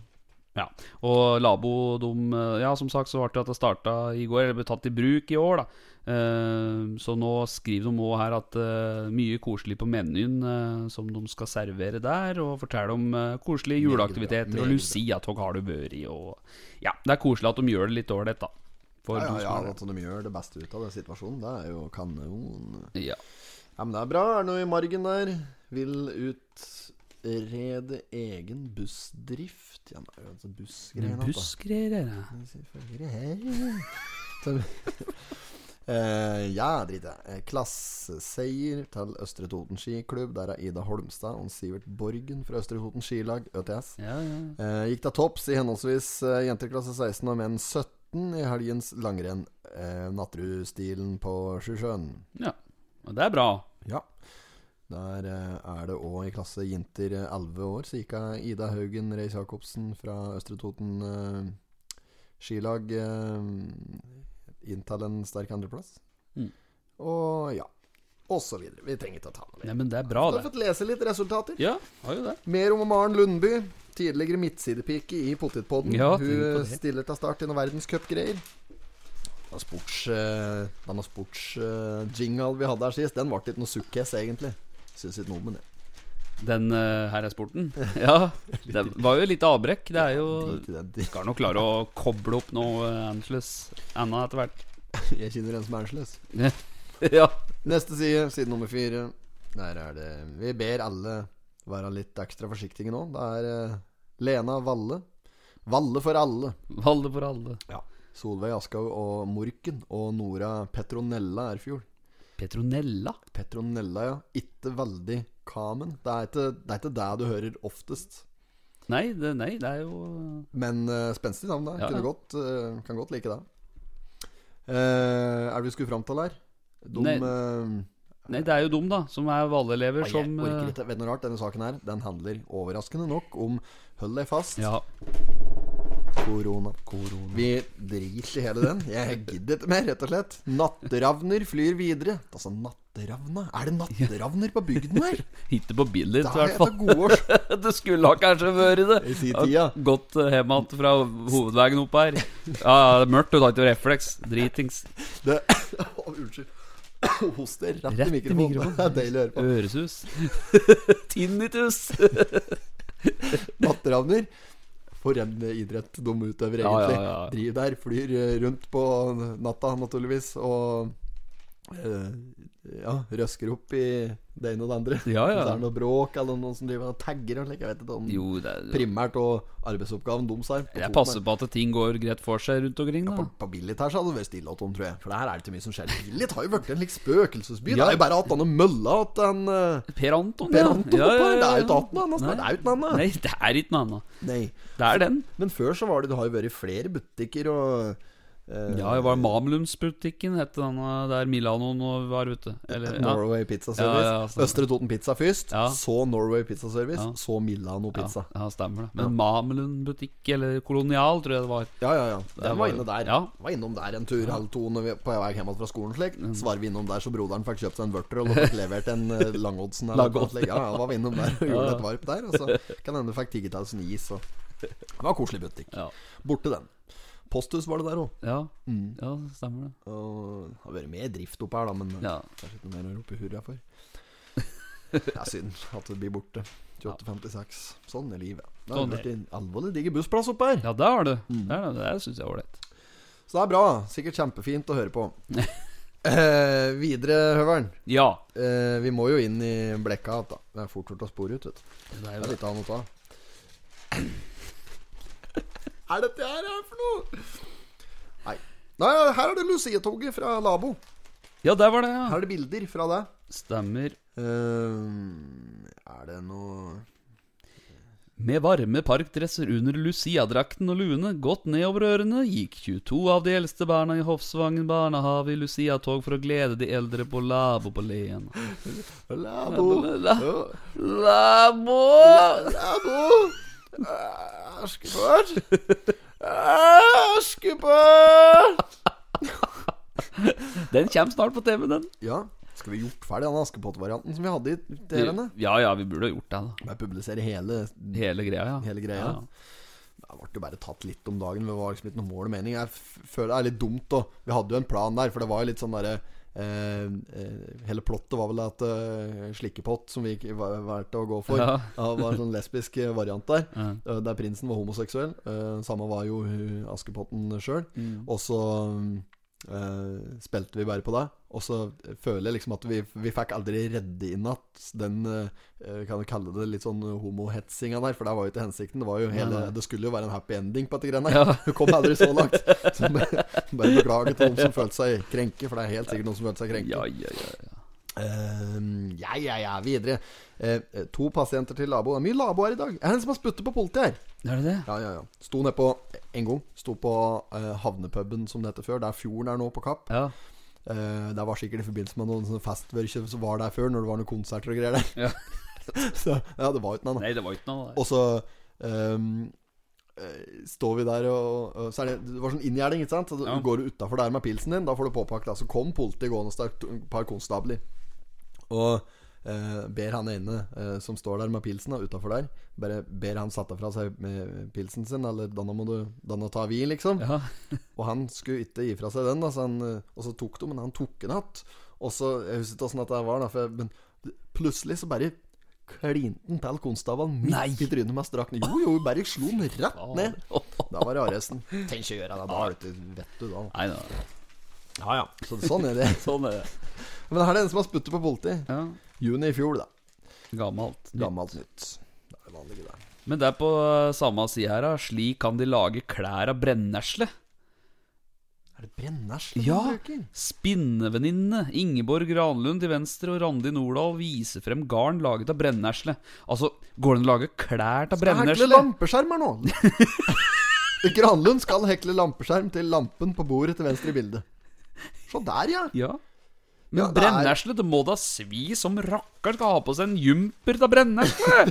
[SPEAKER 2] Ja, og Labo de, eh, Ja, som sagt så ble det at det starta i går, eller ble tatt i bruk i år, da. Eh, Så nå skriver de òg her at eh, mye koselig på menyen eh, som de skal servere der, og fortelle om eh, koselige juleaktiviteter og Lucia-tog har du vært i, og Ja, det er koselig at de gjør det litt ålreit, da. For
[SPEAKER 1] Ja, ja,
[SPEAKER 2] de
[SPEAKER 1] ja,
[SPEAKER 2] som
[SPEAKER 1] At
[SPEAKER 2] er-
[SPEAKER 1] de gjør det beste ut av den situasjonen, det er jo kanon.
[SPEAKER 2] ja.
[SPEAKER 1] Ja, Men det er bra. Er det noe i margen der? Vil utrede egen bussdrift. Ja, det er jo altså bussgreier. da.
[SPEAKER 2] Bussgreier, ja.
[SPEAKER 1] Følgere her. Så- [LAUGHS] Eh, ja, drit i det. Eh, Klasseseier til Østre Toten skiklubb. Der er Ida Holmstad og Sivert Borgen fra Østre Toten skilag, ØTS.
[SPEAKER 2] Ja, ja.
[SPEAKER 1] Eh, gikk til topps i henholdsvis eh, jenteklasse 16 og menn 17 i helgens langrenn. Eh, Natterudstilen på Sjusjøen.
[SPEAKER 2] ja. Og det er bra.
[SPEAKER 1] Ja. Der eh, er det òg i klasse jenter eh, 11 år, så gikk jeg Ida Haugen Reis Jacobsen fra Østre Toten eh, skilag eh, inn til en sterk andreplass.
[SPEAKER 2] Mm.
[SPEAKER 1] Og ja. Og så videre. Vi trenger ikke å ta noe
[SPEAKER 2] Nei,
[SPEAKER 1] mer.
[SPEAKER 2] men det er bra,
[SPEAKER 1] Du har
[SPEAKER 2] det.
[SPEAKER 1] fått lese litt resultater.
[SPEAKER 2] Ja, har jo det.
[SPEAKER 1] Mer om Maren Lundby, tidligere midtsidepike i Potetpodden.
[SPEAKER 2] Ja, tenk på
[SPEAKER 1] Hun
[SPEAKER 2] det.
[SPEAKER 1] stiller til start i noen verdenscupgreier. Den sportsjingle uh, sports, eh, jingle vi hadde her sist, den ble ikke noe sukkes, egentlig. Syns ikke noe om det.
[SPEAKER 2] Den eh, her er sporten. [LAUGHS] Ja. Det var jo litt avbrekk. Det er jo
[SPEAKER 1] Drit i den.
[SPEAKER 2] Skal nok klare å koble opp noe eh, annerledes ennå
[SPEAKER 1] [LAUGHS]
[SPEAKER 2] etter hvert.
[SPEAKER 1] Jeg kjenner en som er annerledes.
[SPEAKER 2] ja.
[SPEAKER 1] Neste side, side nummer fire. Der er det Vi ber alle være litt ekstra forsiktige nå. Det er eh, Lena Valle. Valle for alle.
[SPEAKER 2] Valle for alle.
[SPEAKER 1] Solveig Aschhaug og Morken og Nora Petronella Erfjord.
[SPEAKER 2] Petronella.
[SPEAKER 1] Petronella, ja. Ikke veldig kamen. Det er ikke det, er ikke det du hører oftest.
[SPEAKER 2] Nei, det, nei, det er jo
[SPEAKER 1] Men eh, spenstig navn, da.
[SPEAKER 2] Ja,
[SPEAKER 1] Kunne
[SPEAKER 2] ja.
[SPEAKER 1] Godt, eh, kan godt like det. Eh, er det vi skulle fram til her? De
[SPEAKER 2] Nei.
[SPEAKER 1] eh,
[SPEAKER 2] Nei, det er jo dem, da, som er valelever,
[SPEAKER 1] Nei, Jeg
[SPEAKER 2] som
[SPEAKER 1] orker
[SPEAKER 2] eh,
[SPEAKER 1] ikke. Vet du noe rart? Denne saken her Den handler overraskende nok om Hold deg fast,
[SPEAKER 2] Ja.
[SPEAKER 1] korona. Vi driter i hele den. Jeg gidder ikke mer, rett og slett. Natteravner flyr videre. Altså, natteravna Er det natteravner på bygden
[SPEAKER 2] [LAUGHS]
[SPEAKER 1] her?
[SPEAKER 2] Ikke på bildet, i
[SPEAKER 1] Da er
[SPEAKER 2] hvert
[SPEAKER 1] jeg
[SPEAKER 2] fall. [LAUGHS]
[SPEAKER 1] til gode års
[SPEAKER 2] det skulle ha kanskje vært det.
[SPEAKER 1] [LAUGHS]
[SPEAKER 2] [LAUGHS]
[SPEAKER 1] I sin tid, ja.
[SPEAKER 2] Gått eh, hjem igjen fra hovedveien opp her. Ja, ja, det er mørkt, du har ikke refleks. Dritings.
[SPEAKER 1] Det [LAUGHS] Å, Unnskyld. Hoster rett,
[SPEAKER 2] Rett i
[SPEAKER 1] i mikrofonen. [LAUGHS]
[SPEAKER 2] mikrofonen.
[SPEAKER 1] Det er deilig å høre på.
[SPEAKER 2] Øresus. [LAUGHS] Tinnitus.
[SPEAKER 1] Natteravner. For en idrett de utøver,
[SPEAKER 2] Ja, ja,
[SPEAKER 1] egentlig.
[SPEAKER 2] ja.
[SPEAKER 1] Driver der, flyr eh, rundt på natta, naturligvis, og eh, ja, røsker opp i det ene og det andre.
[SPEAKER 2] Ja,
[SPEAKER 1] Om Det
[SPEAKER 2] ja.
[SPEAKER 1] er noe bråk, eller noen som driver og tagger og slik. Jeg vet ikke om
[SPEAKER 2] Jo, det er
[SPEAKER 1] primært og arbeidsoppgaven deres er. på
[SPEAKER 2] Jeg
[SPEAKER 1] foten
[SPEAKER 2] passer
[SPEAKER 1] her.
[SPEAKER 2] på at ting går greit for seg rundt omkring,
[SPEAKER 1] På,
[SPEAKER 2] da.
[SPEAKER 1] på Billit her så hadde det vært stille åt dem, tror jeg. For det her er det ikke mye som skjer. Billit har jo blitt en slik spøkelsesby.
[SPEAKER 2] Ja.
[SPEAKER 1] Det er jo bare at denne mølla at den eh,
[SPEAKER 2] Per Anton,
[SPEAKER 1] Per Anton
[SPEAKER 2] ja,
[SPEAKER 1] oppe
[SPEAKER 2] ja,
[SPEAKER 1] her, det
[SPEAKER 2] ja,
[SPEAKER 1] er jo
[SPEAKER 2] ja.
[SPEAKER 1] ikke annet enn han, det er jo ikke noe annet.
[SPEAKER 2] Nei, det er ikke noe annet.
[SPEAKER 1] Nei.
[SPEAKER 2] Det er den.
[SPEAKER 1] Men før så var det Det har jo vært flere butikker og eh,
[SPEAKER 2] Ja, det var Mamlumsbutikken het den eh, der Milanoen og var ute. Eller, ja.
[SPEAKER 1] Norway Pizza Service.
[SPEAKER 2] Ja, ja, stemmer.
[SPEAKER 1] Østre Toten Pizza først,
[SPEAKER 2] Ja.
[SPEAKER 1] så Norway Pizza Service,
[SPEAKER 2] Ja.
[SPEAKER 1] så Milano
[SPEAKER 2] Ja,
[SPEAKER 1] Pizza.
[SPEAKER 2] ja, stemmer det. Men Mamelund butikk, eller Kolonial, tror jeg det var.
[SPEAKER 1] Ja, ja, ja. Den var
[SPEAKER 2] var-
[SPEAKER 1] inne der.
[SPEAKER 2] ja. Mm.
[SPEAKER 1] Var innom der en tur halv to når vi på vei hjem fra skolen. slik Så var vi innom der så broderen fikk kjøpt seg en vørter og fikk levert en
[SPEAKER 2] [LAUGHS]
[SPEAKER 1] eh, Langodsen. eller noe
[SPEAKER 2] Langodden,
[SPEAKER 1] slik. Ja, ja, var vi innom der og gjorde
[SPEAKER 2] Ja, ja.
[SPEAKER 1] et varp der. Og så kan hende fikk tigetals en is. Og... Det var koselig butikk.
[SPEAKER 2] Ja,
[SPEAKER 1] Borte den. Posthus var det der Mm. òg.
[SPEAKER 2] ja, ja stemmer det.
[SPEAKER 1] Og det har vært mer drift oppe her, da, men
[SPEAKER 2] Ja.
[SPEAKER 1] kanskje ikke mer å rope hurra
[SPEAKER 2] [LAUGHS]
[SPEAKER 1] for. Det er synd at det blir borte. 2856. Sånn er livet. Det har
[SPEAKER 2] Sånn er
[SPEAKER 1] blitt en alvorlig diger bussplass oppe her.
[SPEAKER 2] ja, det har du.
[SPEAKER 1] Mm.
[SPEAKER 2] Det, er det. det syns jeg er ålreit.
[SPEAKER 1] Så det er bra. Sikkert kjempefint å høre på.
[SPEAKER 2] [LAUGHS]
[SPEAKER 1] eh, videre, Høveren.
[SPEAKER 2] Ja.
[SPEAKER 1] Eh, vi må jo inn i blekka igjen, da. Det er fort gjort å spore ut, vet du. Det
[SPEAKER 2] Det er jo
[SPEAKER 1] er
[SPEAKER 2] det.
[SPEAKER 1] litt annet
[SPEAKER 2] [LAUGHS]
[SPEAKER 1] å ta. er dette her er for noe? Nei. Nei, her er det Lucia-toget fra Labo.
[SPEAKER 2] Ja, der var det, ja.
[SPEAKER 1] Her er det bilder fra det.
[SPEAKER 2] Stemmer.
[SPEAKER 1] Ehm, er det noe
[SPEAKER 2] Med varme parkdresser under Lucia-drakten og luene godt nedover ørene gikk 22 av de eldste barna i Hofsvangen barnehage i Lucia-tog for å glede de eldre på labo på Lien.
[SPEAKER 1] Labo!
[SPEAKER 2] La-
[SPEAKER 1] Ja,
[SPEAKER 2] Labo!
[SPEAKER 1] Labo! Eh, Askepott! Eh, Askepott!
[SPEAKER 2] Den kommer snart på TV, den.
[SPEAKER 1] Ja, skal vi gjort ferdig den Askepott-varianten som vi hadde i TV-ene?
[SPEAKER 2] Ja, ja, vi burde ha gjort det, da.
[SPEAKER 1] Med å publisere hele
[SPEAKER 2] Hele greia, ja.
[SPEAKER 1] Hele greia.
[SPEAKER 2] Ja.
[SPEAKER 1] Det ble jo bare tatt litt om dagen. Men det var liksom ikke noe mål og mening. Jeg f- føler det er litt dumt. da Vi hadde jo en plan der, for det var jo litt sånn derre eh, eh, Hele plottet var vel at eh, slikkepott, som vi ikke va- valgte å gå for, [LAUGHS]
[SPEAKER 2] Ja.
[SPEAKER 1] ja. var en sånn lesbisk eh, variant der.
[SPEAKER 2] Ja.
[SPEAKER 1] eh, Der prinsen var homoseksuell. eh, Samme var jo hun Askepotten sjøl.
[SPEAKER 2] Mm.
[SPEAKER 1] Og så mm, eh, spilte vi bare på det. Og så føler jeg liksom at vi, vi fikk aldri redde inn at den eh, Kan du kalle det litt sånn homohetsinga der, for det var jo ikke hensikten. Det, var jo hele,
[SPEAKER 2] Nei, nei.
[SPEAKER 1] det skulle jo være en happy ending på dette greiene.
[SPEAKER 2] Ja.
[SPEAKER 1] [LAUGHS] her. Hun kom aldri så
[SPEAKER 2] [LAUGHS]
[SPEAKER 1] langt. Så bare bare beklager til noen som følte seg krenke, for det er helt sikkert noen som følte seg krenke.
[SPEAKER 2] Ja, ja, ja, ja.
[SPEAKER 1] Eh, ja, ja, ja, videre. Eh, to pasienter til labo. Det er mye labo her i dag. Det er en som har spyttet på politiet her.
[SPEAKER 2] Er det det?
[SPEAKER 1] Ja, ja, ja. Sto nedpå en gang. Sto på eh, havnepuben som det heter før, der fjorden er nå, på Kapp.
[SPEAKER 2] Ja.
[SPEAKER 1] Eh, det var sikkert i forbindelse med noen sånne festvørkje som var der før, når det var noen konserter og greier der.
[SPEAKER 2] Ja.
[SPEAKER 1] [LAUGHS] så ja, det var jo ikke noe annet.
[SPEAKER 2] Nei, det var ikke noe der.
[SPEAKER 1] Og så ehm, eh, står vi der og, og Så er det, det var sånn inngjerding, ikke sant? Så du
[SPEAKER 2] Ja.
[SPEAKER 1] går du utafor der med pilsen din, da får du påpakket det. Så kom politiet gående og et par konstabler. Og eh, ber han ene eh, som står der med pilsen utafor der, bare ber han sette fra seg eh, pilsen sin, eller 'Danna må du Danna ta vi', liksom.
[SPEAKER 2] Ja.
[SPEAKER 1] Og han skulle ikke gi fra seg den, da, så han, eh, og så tok de, men han tok den att. Og så, Jeg husker ikke åssen det var, da, for jeg, men plutselig så bare klinte han til konstabelen midt
[SPEAKER 2] Nei.
[SPEAKER 1] i trynet med strakk Jo, jo, bare slo han rett ned.
[SPEAKER 2] Nei,
[SPEAKER 1] Da var det arresten. Tenk å gjøre det, da vet du, vet du da.
[SPEAKER 2] nei.
[SPEAKER 1] Ja, ja. Så, sånn er det.
[SPEAKER 2] Sånn er det.
[SPEAKER 1] Men her er det en som har spyttet på politiet.
[SPEAKER 2] Ja.
[SPEAKER 1] Juni i fjor, da.
[SPEAKER 2] Gammelt.
[SPEAKER 1] Gammelt nytt. Det er det vanlige, det.
[SPEAKER 2] Men det er på eh, samme side her, da. Slik kan de lage klær av brennesle.
[SPEAKER 1] Er det brennesle
[SPEAKER 2] Ja.
[SPEAKER 1] du bruker?
[SPEAKER 2] Spinnevenninnene Ingeborg Granlund til venstre og Randi Nordahl viser frem garn laget av brennesle. Altså, går det an å lage klær av
[SPEAKER 1] Skal hekle
[SPEAKER 2] brennesle?
[SPEAKER 1] lampeskjermer nå! [LAUGHS] Granlund skal hekle lampeskjerm til lampen på bordet til venstre i bildet. Se der, ja.
[SPEAKER 2] Ja. Men
[SPEAKER 1] Ja, det er-
[SPEAKER 2] brennesle, det må da svi som rakkeren skal ha på seg en jumper av brennesle!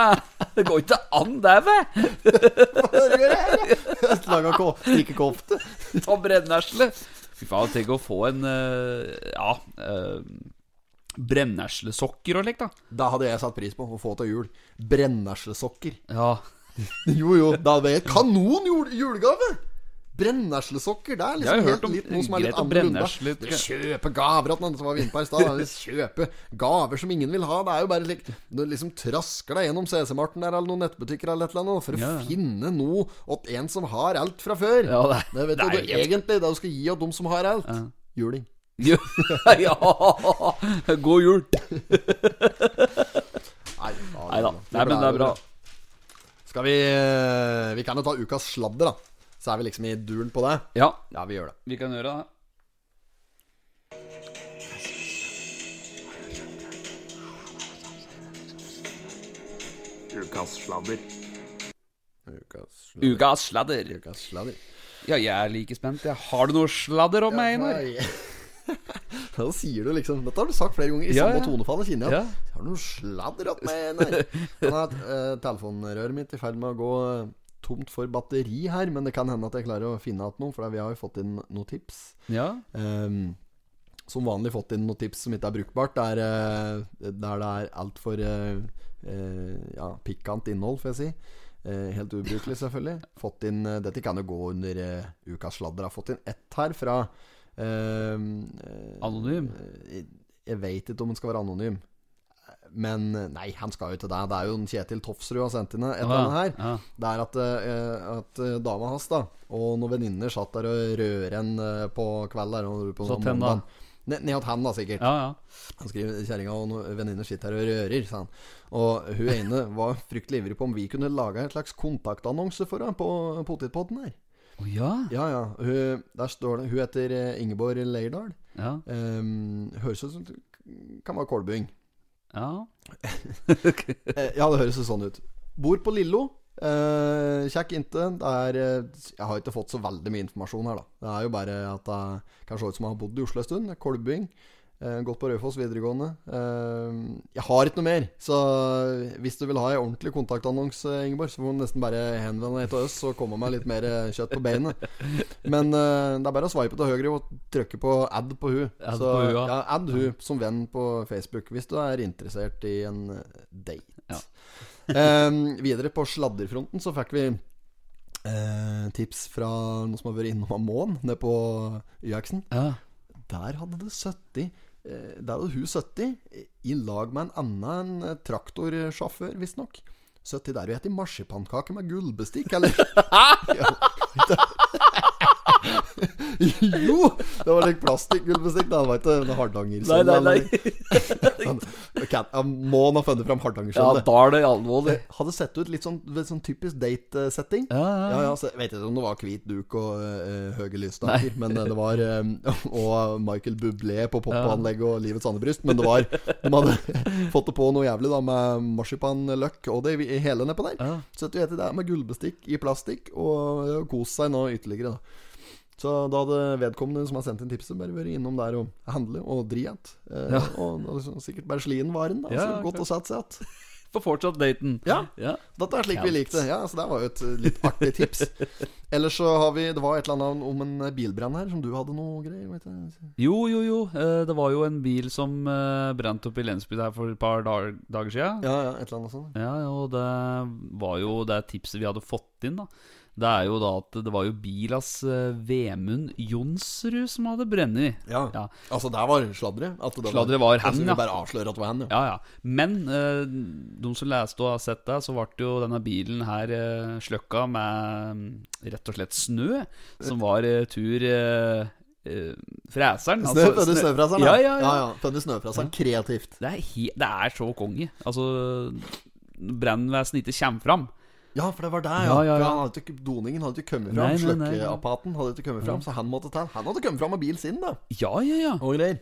[SPEAKER 2] [LAUGHS] det går ikke an, dæven!
[SPEAKER 1] [LAUGHS] Laga ko- strikkekofte.
[SPEAKER 2] Ta brennesle! Fy faen, tenk å få en eh, Ja uh, Brenneslesokker og likt, da.
[SPEAKER 1] Da hadde jeg satt pris på å få til jul. Brenneslesokker.
[SPEAKER 2] Ja.
[SPEAKER 1] [LAUGHS] Jo, jo. Da hadde jeg kanon jul julegave! Brenneslesokker. Det er
[SPEAKER 2] Jeg har
[SPEAKER 1] liksom
[SPEAKER 2] jo hørt
[SPEAKER 1] helt
[SPEAKER 2] om
[SPEAKER 1] litt noe som er
[SPEAKER 2] greit
[SPEAKER 1] litt
[SPEAKER 2] å
[SPEAKER 1] annerledes.
[SPEAKER 2] brennesle litt.
[SPEAKER 1] Dere Kjøpe gaver at noen som var vi inne på her i stad. dere Kjøpe gaver som ingen vil ha. Det er jo bare slik Du liksom trasker deg gjennom CC-marten der eller noen nettbutikker eller et eller annet for å
[SPEAKER 2] Ja.
[SPEAKER 1] finne noe åt en som har alt fra før.
[SPEAKER 2] Ja, det-
[SPEAKER 1] det vet
[SPEAKER 2] det er
[SPEAKER 1] du,
[SPEAKER 2] jo
[SPEAKER 1] du egentlig det du skal gi åt dem som har alt. Juling.
[SPEAKER 2] Jo, ja! [LAUGHS] God jul!
[SPEAKER 1] Nei
[SPEAKER 2] Nei da.
[SPEAKER 1] Vi
[SPEAKER 2] Nei, men det er bra.
[SPEAKER 1] Skal vi eh, Vi kan jo ta ukas sladder, da. Så er vi liksom i duren på det.
[SPEAKER 2] Ja,
[SPEAKER 1] Ja, vi gjør det.
[SPEAKER 2] vi kan gjøre det.
[SPEAKER 6] Ukas sladder.
[SPEAKER 1] Ukas sladder.
[SPEAKER 2] Ukas sladder.
[SPEAKER 1] Ukas sladder.
[SPEAKER 2] Ja, jeg er like spent. Jeg har du noe sladder om meg, Einar?
[SPEAKER 1] [LAUGHS] Nei. Da sier du liksom Dette har du sagt flere ganger i
[SPEAKER 2] Ja,
[SPEAKER 1] samme
[SPEAKER 2] ja.
[SPEAKER 1] tonefall. Kjenner jeg
[SPEAKER 2] Ja.
[SPEAKER 1] at Har du noe sladder opp med Nei. Sånn at, eh, telefonrøret mitt er i ferd med å gå eh, tomt for batteri her, men det kan hende at jeg klarer å finne igjen noe, for vi har jo fått inn noen tips.
[SPEAKER 2] Ja.
[SPEAKER 1] Ehm, som vanlig fått inn noen tips som ikke er brukbart, der, eh, der det er altfor uh, ja, pikant innhold, får jeg si. Eh, helt ubrukelig, selvfølgelig. Fått inn, eh, dette kan jo gå under eh, ukas sladder. Har fått inn ett her fra ehm, eh,
[SPEAKER 2] Anonym.
[SPEAKER 1] eh, jeg veit ikke om han skal være anonym. Men eh, nei, han skal jo ikke det. Det er jo en Kjetil Tofsrud har sendt inn et eller annet her.
[SPEAKER 2] Ja.
[SPEAKER 1] Det er at, eh, at eh, dama hans da og noen venninner satt der og rører en eh, på kveld der. og på
[SPEAKER 2] Satt hen da?
[SPEAKER 1] mandagen. Ne- Ned hos han, da, sikkert.
[SPEAKER 2] Ja, ja.
[SPEAKER 1] Han skriver kjerringa og noen venninner sitter her og rører, sa han. Og hun ene var fryktelig ivrig på om vi kunne lage en slags kontaktannonse for henne på potetpotten her.
[SPEAKER 2] Å, ja.
[SPEAKER 1] Ja, ja. Hun, der står det Hun heter eh, Ingeborg Leirdal.
[SPEAKER 2] ja.
[SPEAKER 1] Um, høres ut som kan være Kolbøing.
[SPEAKER 2] Ja.
[SPEAKER 1] Eh, Ja, det høres jo sånn ut. Bor på Lillo. Eh, kjekk inte. Det er eh, Jeg har ikke fått så veldig mye informasjon her, da. Det er jo bare at jeg kan se ut som jeg har bodd i Oslo en stund. Kolbing. Eh, gått på Raufoss videregående. Eh, jeg har ikke noe mer, så eh, hvis du vil ha ei ordentlig kontaktannonse, Ingeborg, så får du nesten bare henvende deg til oss og komme med litt mer eh, kjøtt på beinet. Men eh, det er bare å sveipe til høyre og trykke på add på hun.
[SPEAKER 2] Add
[SPEAKER 1] så,
[SPEAKER 2] på hun, ja.
[SPEAKER 1] ja, add hun som venn på Facebook hvis du er interessert i en eh, date.
[SPEAKER 2] Ja.
[SPEAKER 1] Ehm, videre på sladderfronten så fikk vi eh, tips fra noen som har vært innom Amon nede på YX-en.
[SPEAKER 2] ja.
[SPEAKER 1] Der hadde det 70 eh, Der hadde hun 70 eh, i lag med en annen eh, traktorsjåfør, visstnok. 70 der og jeg heter marsipankake med gullbestikk, eller? jo! Det var litt plastikkgullbestikk. Det var ikke det
[SPEAKER 2] Nei,
[SPEAKER 1] Hardangersønn.
[SPEAKER 2] nei, nei.
[SPEAKER 1] [LAUGHS] Må han ha funnet fram
[SPEAKER 2] Ja,
[SPEAKER 1] Hardangersønn? det.
[SPEAKER 2] da er sånn det Eh, alvorlig.
[SPEAKER 1] Hadde sett ut litt sånn, litt sånn typisk date-setting.
[SPEAKER 2] Ja, ja, ja.
[SPEAKER 1] ja, så jeg Vet ikke om det var hvit duk og eh, høye lysstaker, men eh, det var eh, [LAUGHS] Og Michael Bublé på popanlegg og Livets andebryst, men det var De hadde [LAUGHS] fått det på noe jævlig da med marsipanløk og det i- i hele nedpå der.
[SPEAKER 2] Ja.
[SPEAKER 1] Så du vet det er med gullbestikk i plastikk, og ja, kos seg nå ytterligere, da. Så da hadde vedkommende som har sendt inn tipset, bare vært innom der og handle og dri igjen. Eh,
[SPEAKER 2] Ja.
[SPEAKER 1] Og og liksom, sikkert bare sli inn varen, da. så
[SPEAKER 2] Ja,
[SPEAKER 1] godt
[SPEAKER 2] klart.
[SPEAKER 1] å sette seg igjen.
[SPEAKER 2] Får fortsatt daten.
[SPEAKER 1] Ja.
[SPEAKER 2] ja.
[SPEAKER 1] Dette er slik vi
[SPEAKER 2] Kjent.
[SPEAKER 1] likte. Ja, så det var jo et eh, litt artig [LAUGHS] tips. Ellers så har vi Det var et eller annet om en eh, bilbrann her, som du hadde noe greier vet jeg.
[SPEAKER 2] Jo, jo, jo. Eh, Det var jo en bil som eh, brant opp i Lensby der for et par dag- dager siden.
[SPEAKER 1] Ja, ja, et eller annet sånt.
[SPEAKER 2] Ja, og det var jo det tipset vi hadde fått inn, da. Det er jo da at det var jo bilas eh, Vemund Jonsrud som hadde brennet.
[SPEAKER 1] Ja.
[SPEAKER 2] Ja.
[SPEAKER 1] Altså, der var sladderet. At det
[SPEAKER 2] Sladderet var hen,
[SPEAKER 1] altså,
[SPEAKER 2] ja.
[SPEAKER 1] Vi bare avslører at det var hen, ja.
[SPEAKER 2] Ja, ja. Men eh, de som leste og har sett det, så ble jo denne bilen her eh, sløkka med mm, rett og slett snø, som var eh, tur eh, eh, Freseren.
[SPEAKER 1] Snø
[SPEAKER 2] altså,
[SPEAKER 1] fødde
[SPEAKER 2] snø-
[SPEAKER 1] snøfraseren,
[SPEAKER 2] Ja, ja,
[SPEAKER 1] ja,
[SPEAKER 2] ja.
[SPEAKER 1] ja. Fødde snøfraseren kreativt.
[SPEAKER 2] Det, er he det er så konge. Altså, brannvesenet ikke kommer fram.
[SPEAKER 1] Ja, for det var der, ja.
[SPEAKER 2] Ja, ja,
[SPEAKER 1] For
[SPEAKER 2] ja.
[SPEAKER 1] han hadde ikke, doningen hadde ikke kommet
[SPEAKER 2] Nei,
[SPEAKER 1] fram.
[SPEAKER 2] nei, nei, nei.
[SPEAKER 1] Sløkkeapparaten hadde ikke kommet fram, så han måtte ta Han hadde kommet fram med bil sin, da.
[SPEAKER 2] Ja, ja, ja.
[SPEAKER 1] Og greier.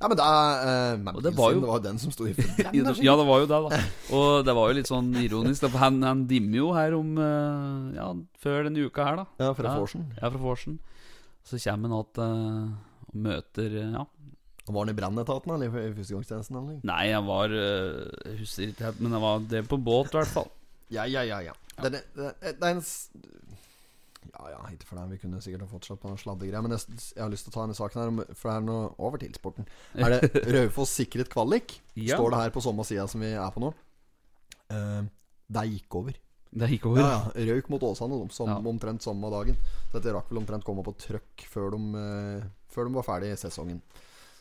[SPEAKER 1] Ja, men det er eh, men
[SPEAKER 2] Og det
[SPEAKER 1] bil
[SPEAKER 2] var
[SPEAKER 1] sin,
[SPEAKER 2] jo-
[SPEAKER 1] det var den som [LAUGHS] sto i
[SPEAKER 2] Ja, det- ja, det var jo det, da. Og det var jo litt sånn ironisk. da, for Han, han dimmer jo her om eh, Ja, før denne uka her, da.
[SPEAKER 1] Ja, fra Forsen.
[SPEAKER 2] Ja, fra Forsen. Så kommer han att eh, og møter eh, ja,
[SPEAKER 1] Var han i brannetaten eller i førstegangstjenesten? eller noe?
[SPEAKER 2] Nei, jeg var øh, Jeg husker ikke helt, men jeg var drev på båt, i hvert fall.
[SPEAKER 1] Ja, ja, ja. ja. Det, er- det, er- det er en s- Ja ja, ikke for deg. Vi kunne sikkert ha fortsatt på noen sladdegreier. Men jeg, s- jeg har lyst til å ta denne saken her, om- for det er noe over til sporten. Er det Raufoss sikret kvalik?
[SPEAKER 2] Ja.
[SPEAKER 1] Står det her på samme sida som vi er på nå. Uh, det gikk over.
[SPEAKER 2] Det gikk over.
[SPEAKER 1] Ja, ja. Røyk mot Åsane de, som,
[SPEAKER 2] Ja.
[SPEAKER 1] omtrent samme dagen. Så dette rakk vel omtrent komme på trøkk før de, eh, før de var ferdig i sesongen.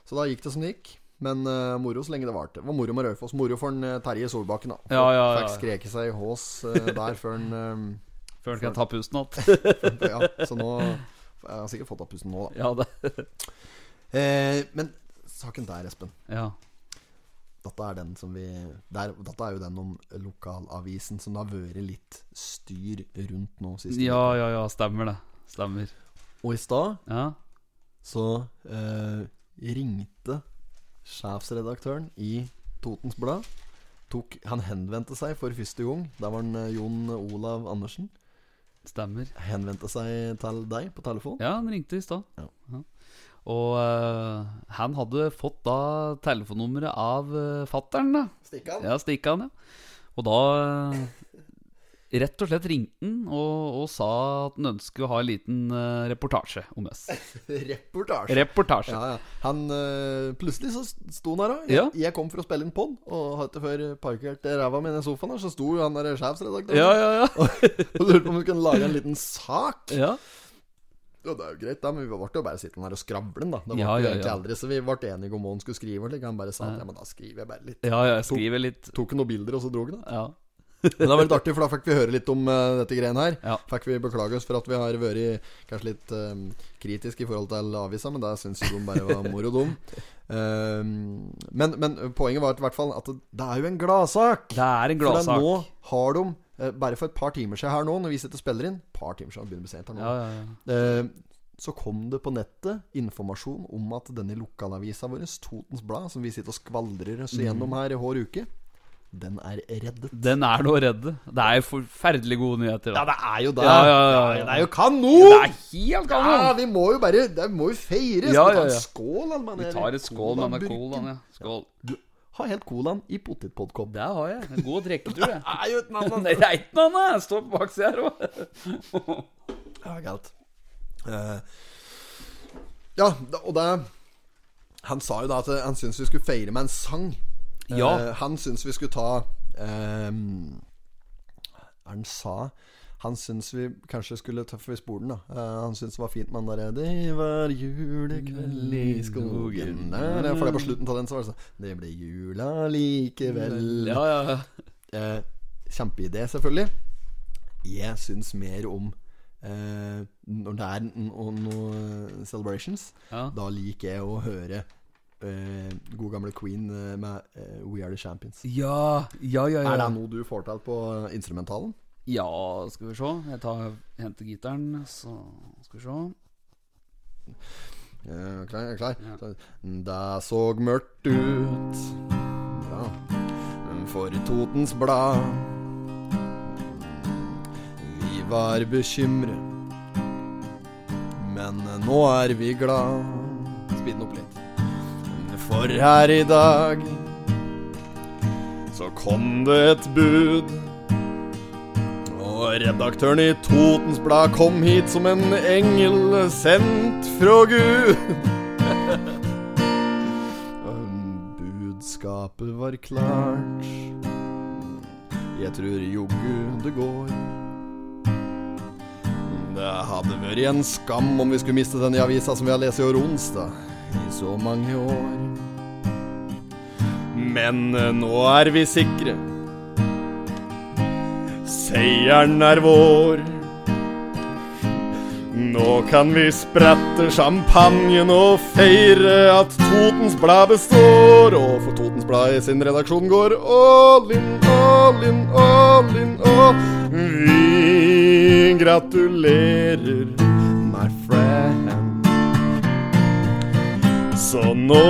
[SPEAKER 1] Så da gikk det som det gikk. Men eh, moro så lenge det varte. Det var moro med Raufoss. Moro for en, eh, Terje Solbakken, da.
[SPEAKER 2] Ja, ja, ja.
[SPEAKER 1] Fikk skreket seg i hås eh, der før han
[SPEAKER 2] Før han kan ta pusten igjen.
[SPEAKER 1] eh, Ja, så nå Jeg har sikkert fått av pusten nå, da.
[SPEAKER 2] [LAUGHS] Ja, det
[SPEAKER 1] Eh, men saken der, Espen.
[SPEAKER 2] Ja.
[SPEAKER 1] Dette er, den som vi, der, dette er jo den om lokalavisen som det har vært litt styr rundt nå sist.
[SPEAKER 2] ja, ja, ja. Stemmer det. Stemmer.
[SPEAKER 1] Og i stad
[SPEAKER 2] Ja.
[SPEAKER 1] så eh, ringte sjefsredaktøren i Totens Blad. Tok, han henvendte seg for første gang. Der var han eh, Jon Olav Andersen.
[SPEAKER 2] Stemmer.
[SPEAKER 1] Henvendte seg til deg på telefon.
[SPEAKER 2] Ja, han ringte i stad.
[SPEAKER 1] Ja.
[SPEAKER 2] Ja. Og øh, han hadde fått da telefonnummeret av uh, fattern, da.
[SPEAKER 1] Stikk av.
[SPEAKER 2] Ja, stikka han, ja. Og da eh, rett og slett ringte han og, og sa at han ønsket å ha en liten eh, reportasje om
[SPEAKER 1] [LAUGHS]
[SPEAKER 2] oss.
[SPEAKER 1] Reportasje.
[SPEAKER 2] Reportasje.
[SPEAKER 1] Ja, ja. Han, eh, plutselig så sto han her, da. Jeg,
[SPEAKER 2] Ja.
[SPEAKER 1] jeg kom for å spille inn pod, og hadde før parkert ræva mi ned i sofaen, her, så sto jo han der sjefsredaktøren
[SPEAKER 2] Ja, ja, ja.
[SPEAKER 1] [LAUGHS] og lurte på om vi kunne lage en liten sak.
[SPEAKER 2] ja.
[SPEAKER 1] Ja, det er jo greit, da, men vi ble jo bare sittende her og skravle den, da. Det var
[SPEAKER 2] Ja,
[SPEAKER 1] jo
[SPEAKER 2] ja,
[SPEAKER 1] egentlig
[SPEAKER 2] ja.
[SPEAKER 1] aldri, så vi ble enige om hva han skulle skrive. Like. Han bare sa at ja, men da skriver jeg bare litt.
[SPEAKER 2] Ja, ja, jeg skriver litt
[SPEAKER 1] Tok noen bilder, og så dro han, da.
[SPEAKER 2] Ja,
[SPEAKER 1] Men det var litt artig, for da fikk vi høre litt om eh, dette greiene her.
[SPEAKER 2] Ja.
[SPEAKER 1] Fikk vi beklage oss for at vi har vært kanskje litt um, kritiske i forhold til avisa, men det syns jo de bare var moro, dum. Um, men, men poenget var at, i hvert fall at det, det er jo en gladsak!
[SPEAKER 2] det er en
[SPEAKER 1] For da
[SPEAKER 2] gladsak.
[SPEAKER 1] nå har de, eh, bare for et par timer siden her nå, når vi sitter og spiller inn Par timer siden, det begynner å bli sent her nå.
[SPEAKER 2] Ja, ja, ja.
[SPEAKER 1] Eh, så kom det på nettet informasjon om at denne lokalavisa vår, Totens Blad, som vi sitter og skvaldrer oss gjennom her i hver uke, den er reddet.
[SPEAKER 2] Den er nå redde. Det er jo forferdelig gode nyheter. Da.
[SPEAKER 1] det er jo det!
[SPEAKER 2] Ja, ja, ja, ja.
[SPEAKER 1] Det er jo kanon!
[SPEAKER 2] Det er helt
[SPEAKER 1] Ja,
[SPEAKER 2] gammel!
[SPEAKER 1] vi må jo bare Det må jo feires!
[SPEAKER 2] Ja,
[SPEAKER 1] Vi tar
[SPEAKER 2] ja, ja.
[SPEAKER 1] en skål, Alman.
[SPEAKER 2] Vi tar et skål med denne
[SPEAKER 1] Burken.
[SPEAKER 2] colaen. Ja. Skål.
[SPEAKER 1] Har helt colaen i potetpodkopp.
[SPEAKER 2] Der har jeg. En god drikketur, [LAUGHS] jeg.
[SPEAKER 1] er jo et navn,
[SPEAKER 2] Nei, det er ikke noe annet. Jeg står på baksida her òg.
[SPEAKER 1] Ja, galt. Eh, ja, da- og det Han sa jo da at eh, han syntes vi skulle feire med en sang. Eh,
[SPEAKER 2] Ja.
[SPEAKER 1] han syntes vi skulle ta ehm, Hva er det han sa? Han syntes vi kanskje skulle ta for vi spoler den, da. Eh, han syntes det var fint med han derre Det var julekveld i
[SPEAKER 2] Mm.
[SPEAKER 1] skogen der For det er på slutten av den, så var det sånn Det ble jula likevel.
[SPEAKER 2] Ja, ja, ja.
[SPEAKER 1] Eh, kjempeidé, selvfølgelig. Jeg syns mer om eh, Når det er noen celebrations,
[SPEAKER 2] Ja.
[SPEAKER 1] da liker jeg å høre eh, god gamle Queen eh, med eh, We Are The Champions.
[SPEAKER 2] Ja, ja, ja,
[SPEAKER 1] Er det
[SPEAKER 2] ja.
[SPEAKER 1] noe du får til på instrumentalen?
[SPEAKER 2] ja skal vi se. Jeg tar, henter gitaren, så skal vi se.
[SPEAKER 1] Ja, er du klar, er du klar? Det så mørkt ut ja. For Totens Blad Vi var bekymret Men nå er vi glad Spill den opp litt For her i dag Så kom det et bud og redaktøren i Totens Blad kom hit som en engel sendt fra Gud. [LAUGHS] Um, Budskapet var klart. Jeg tror joggu det går. Det hadde vært en skam om vi skulle miste denne avisa som vi har lest i år onsdag i så mange år. Men eh, nå er vi sikre. Seieren er vår. Nå kan vi sprette champagnen og feire at Totens Blad består. Og for Totens Blad i sin redaksjon går all in, all in, all in, all Vi gratulerer, my friend. Så nå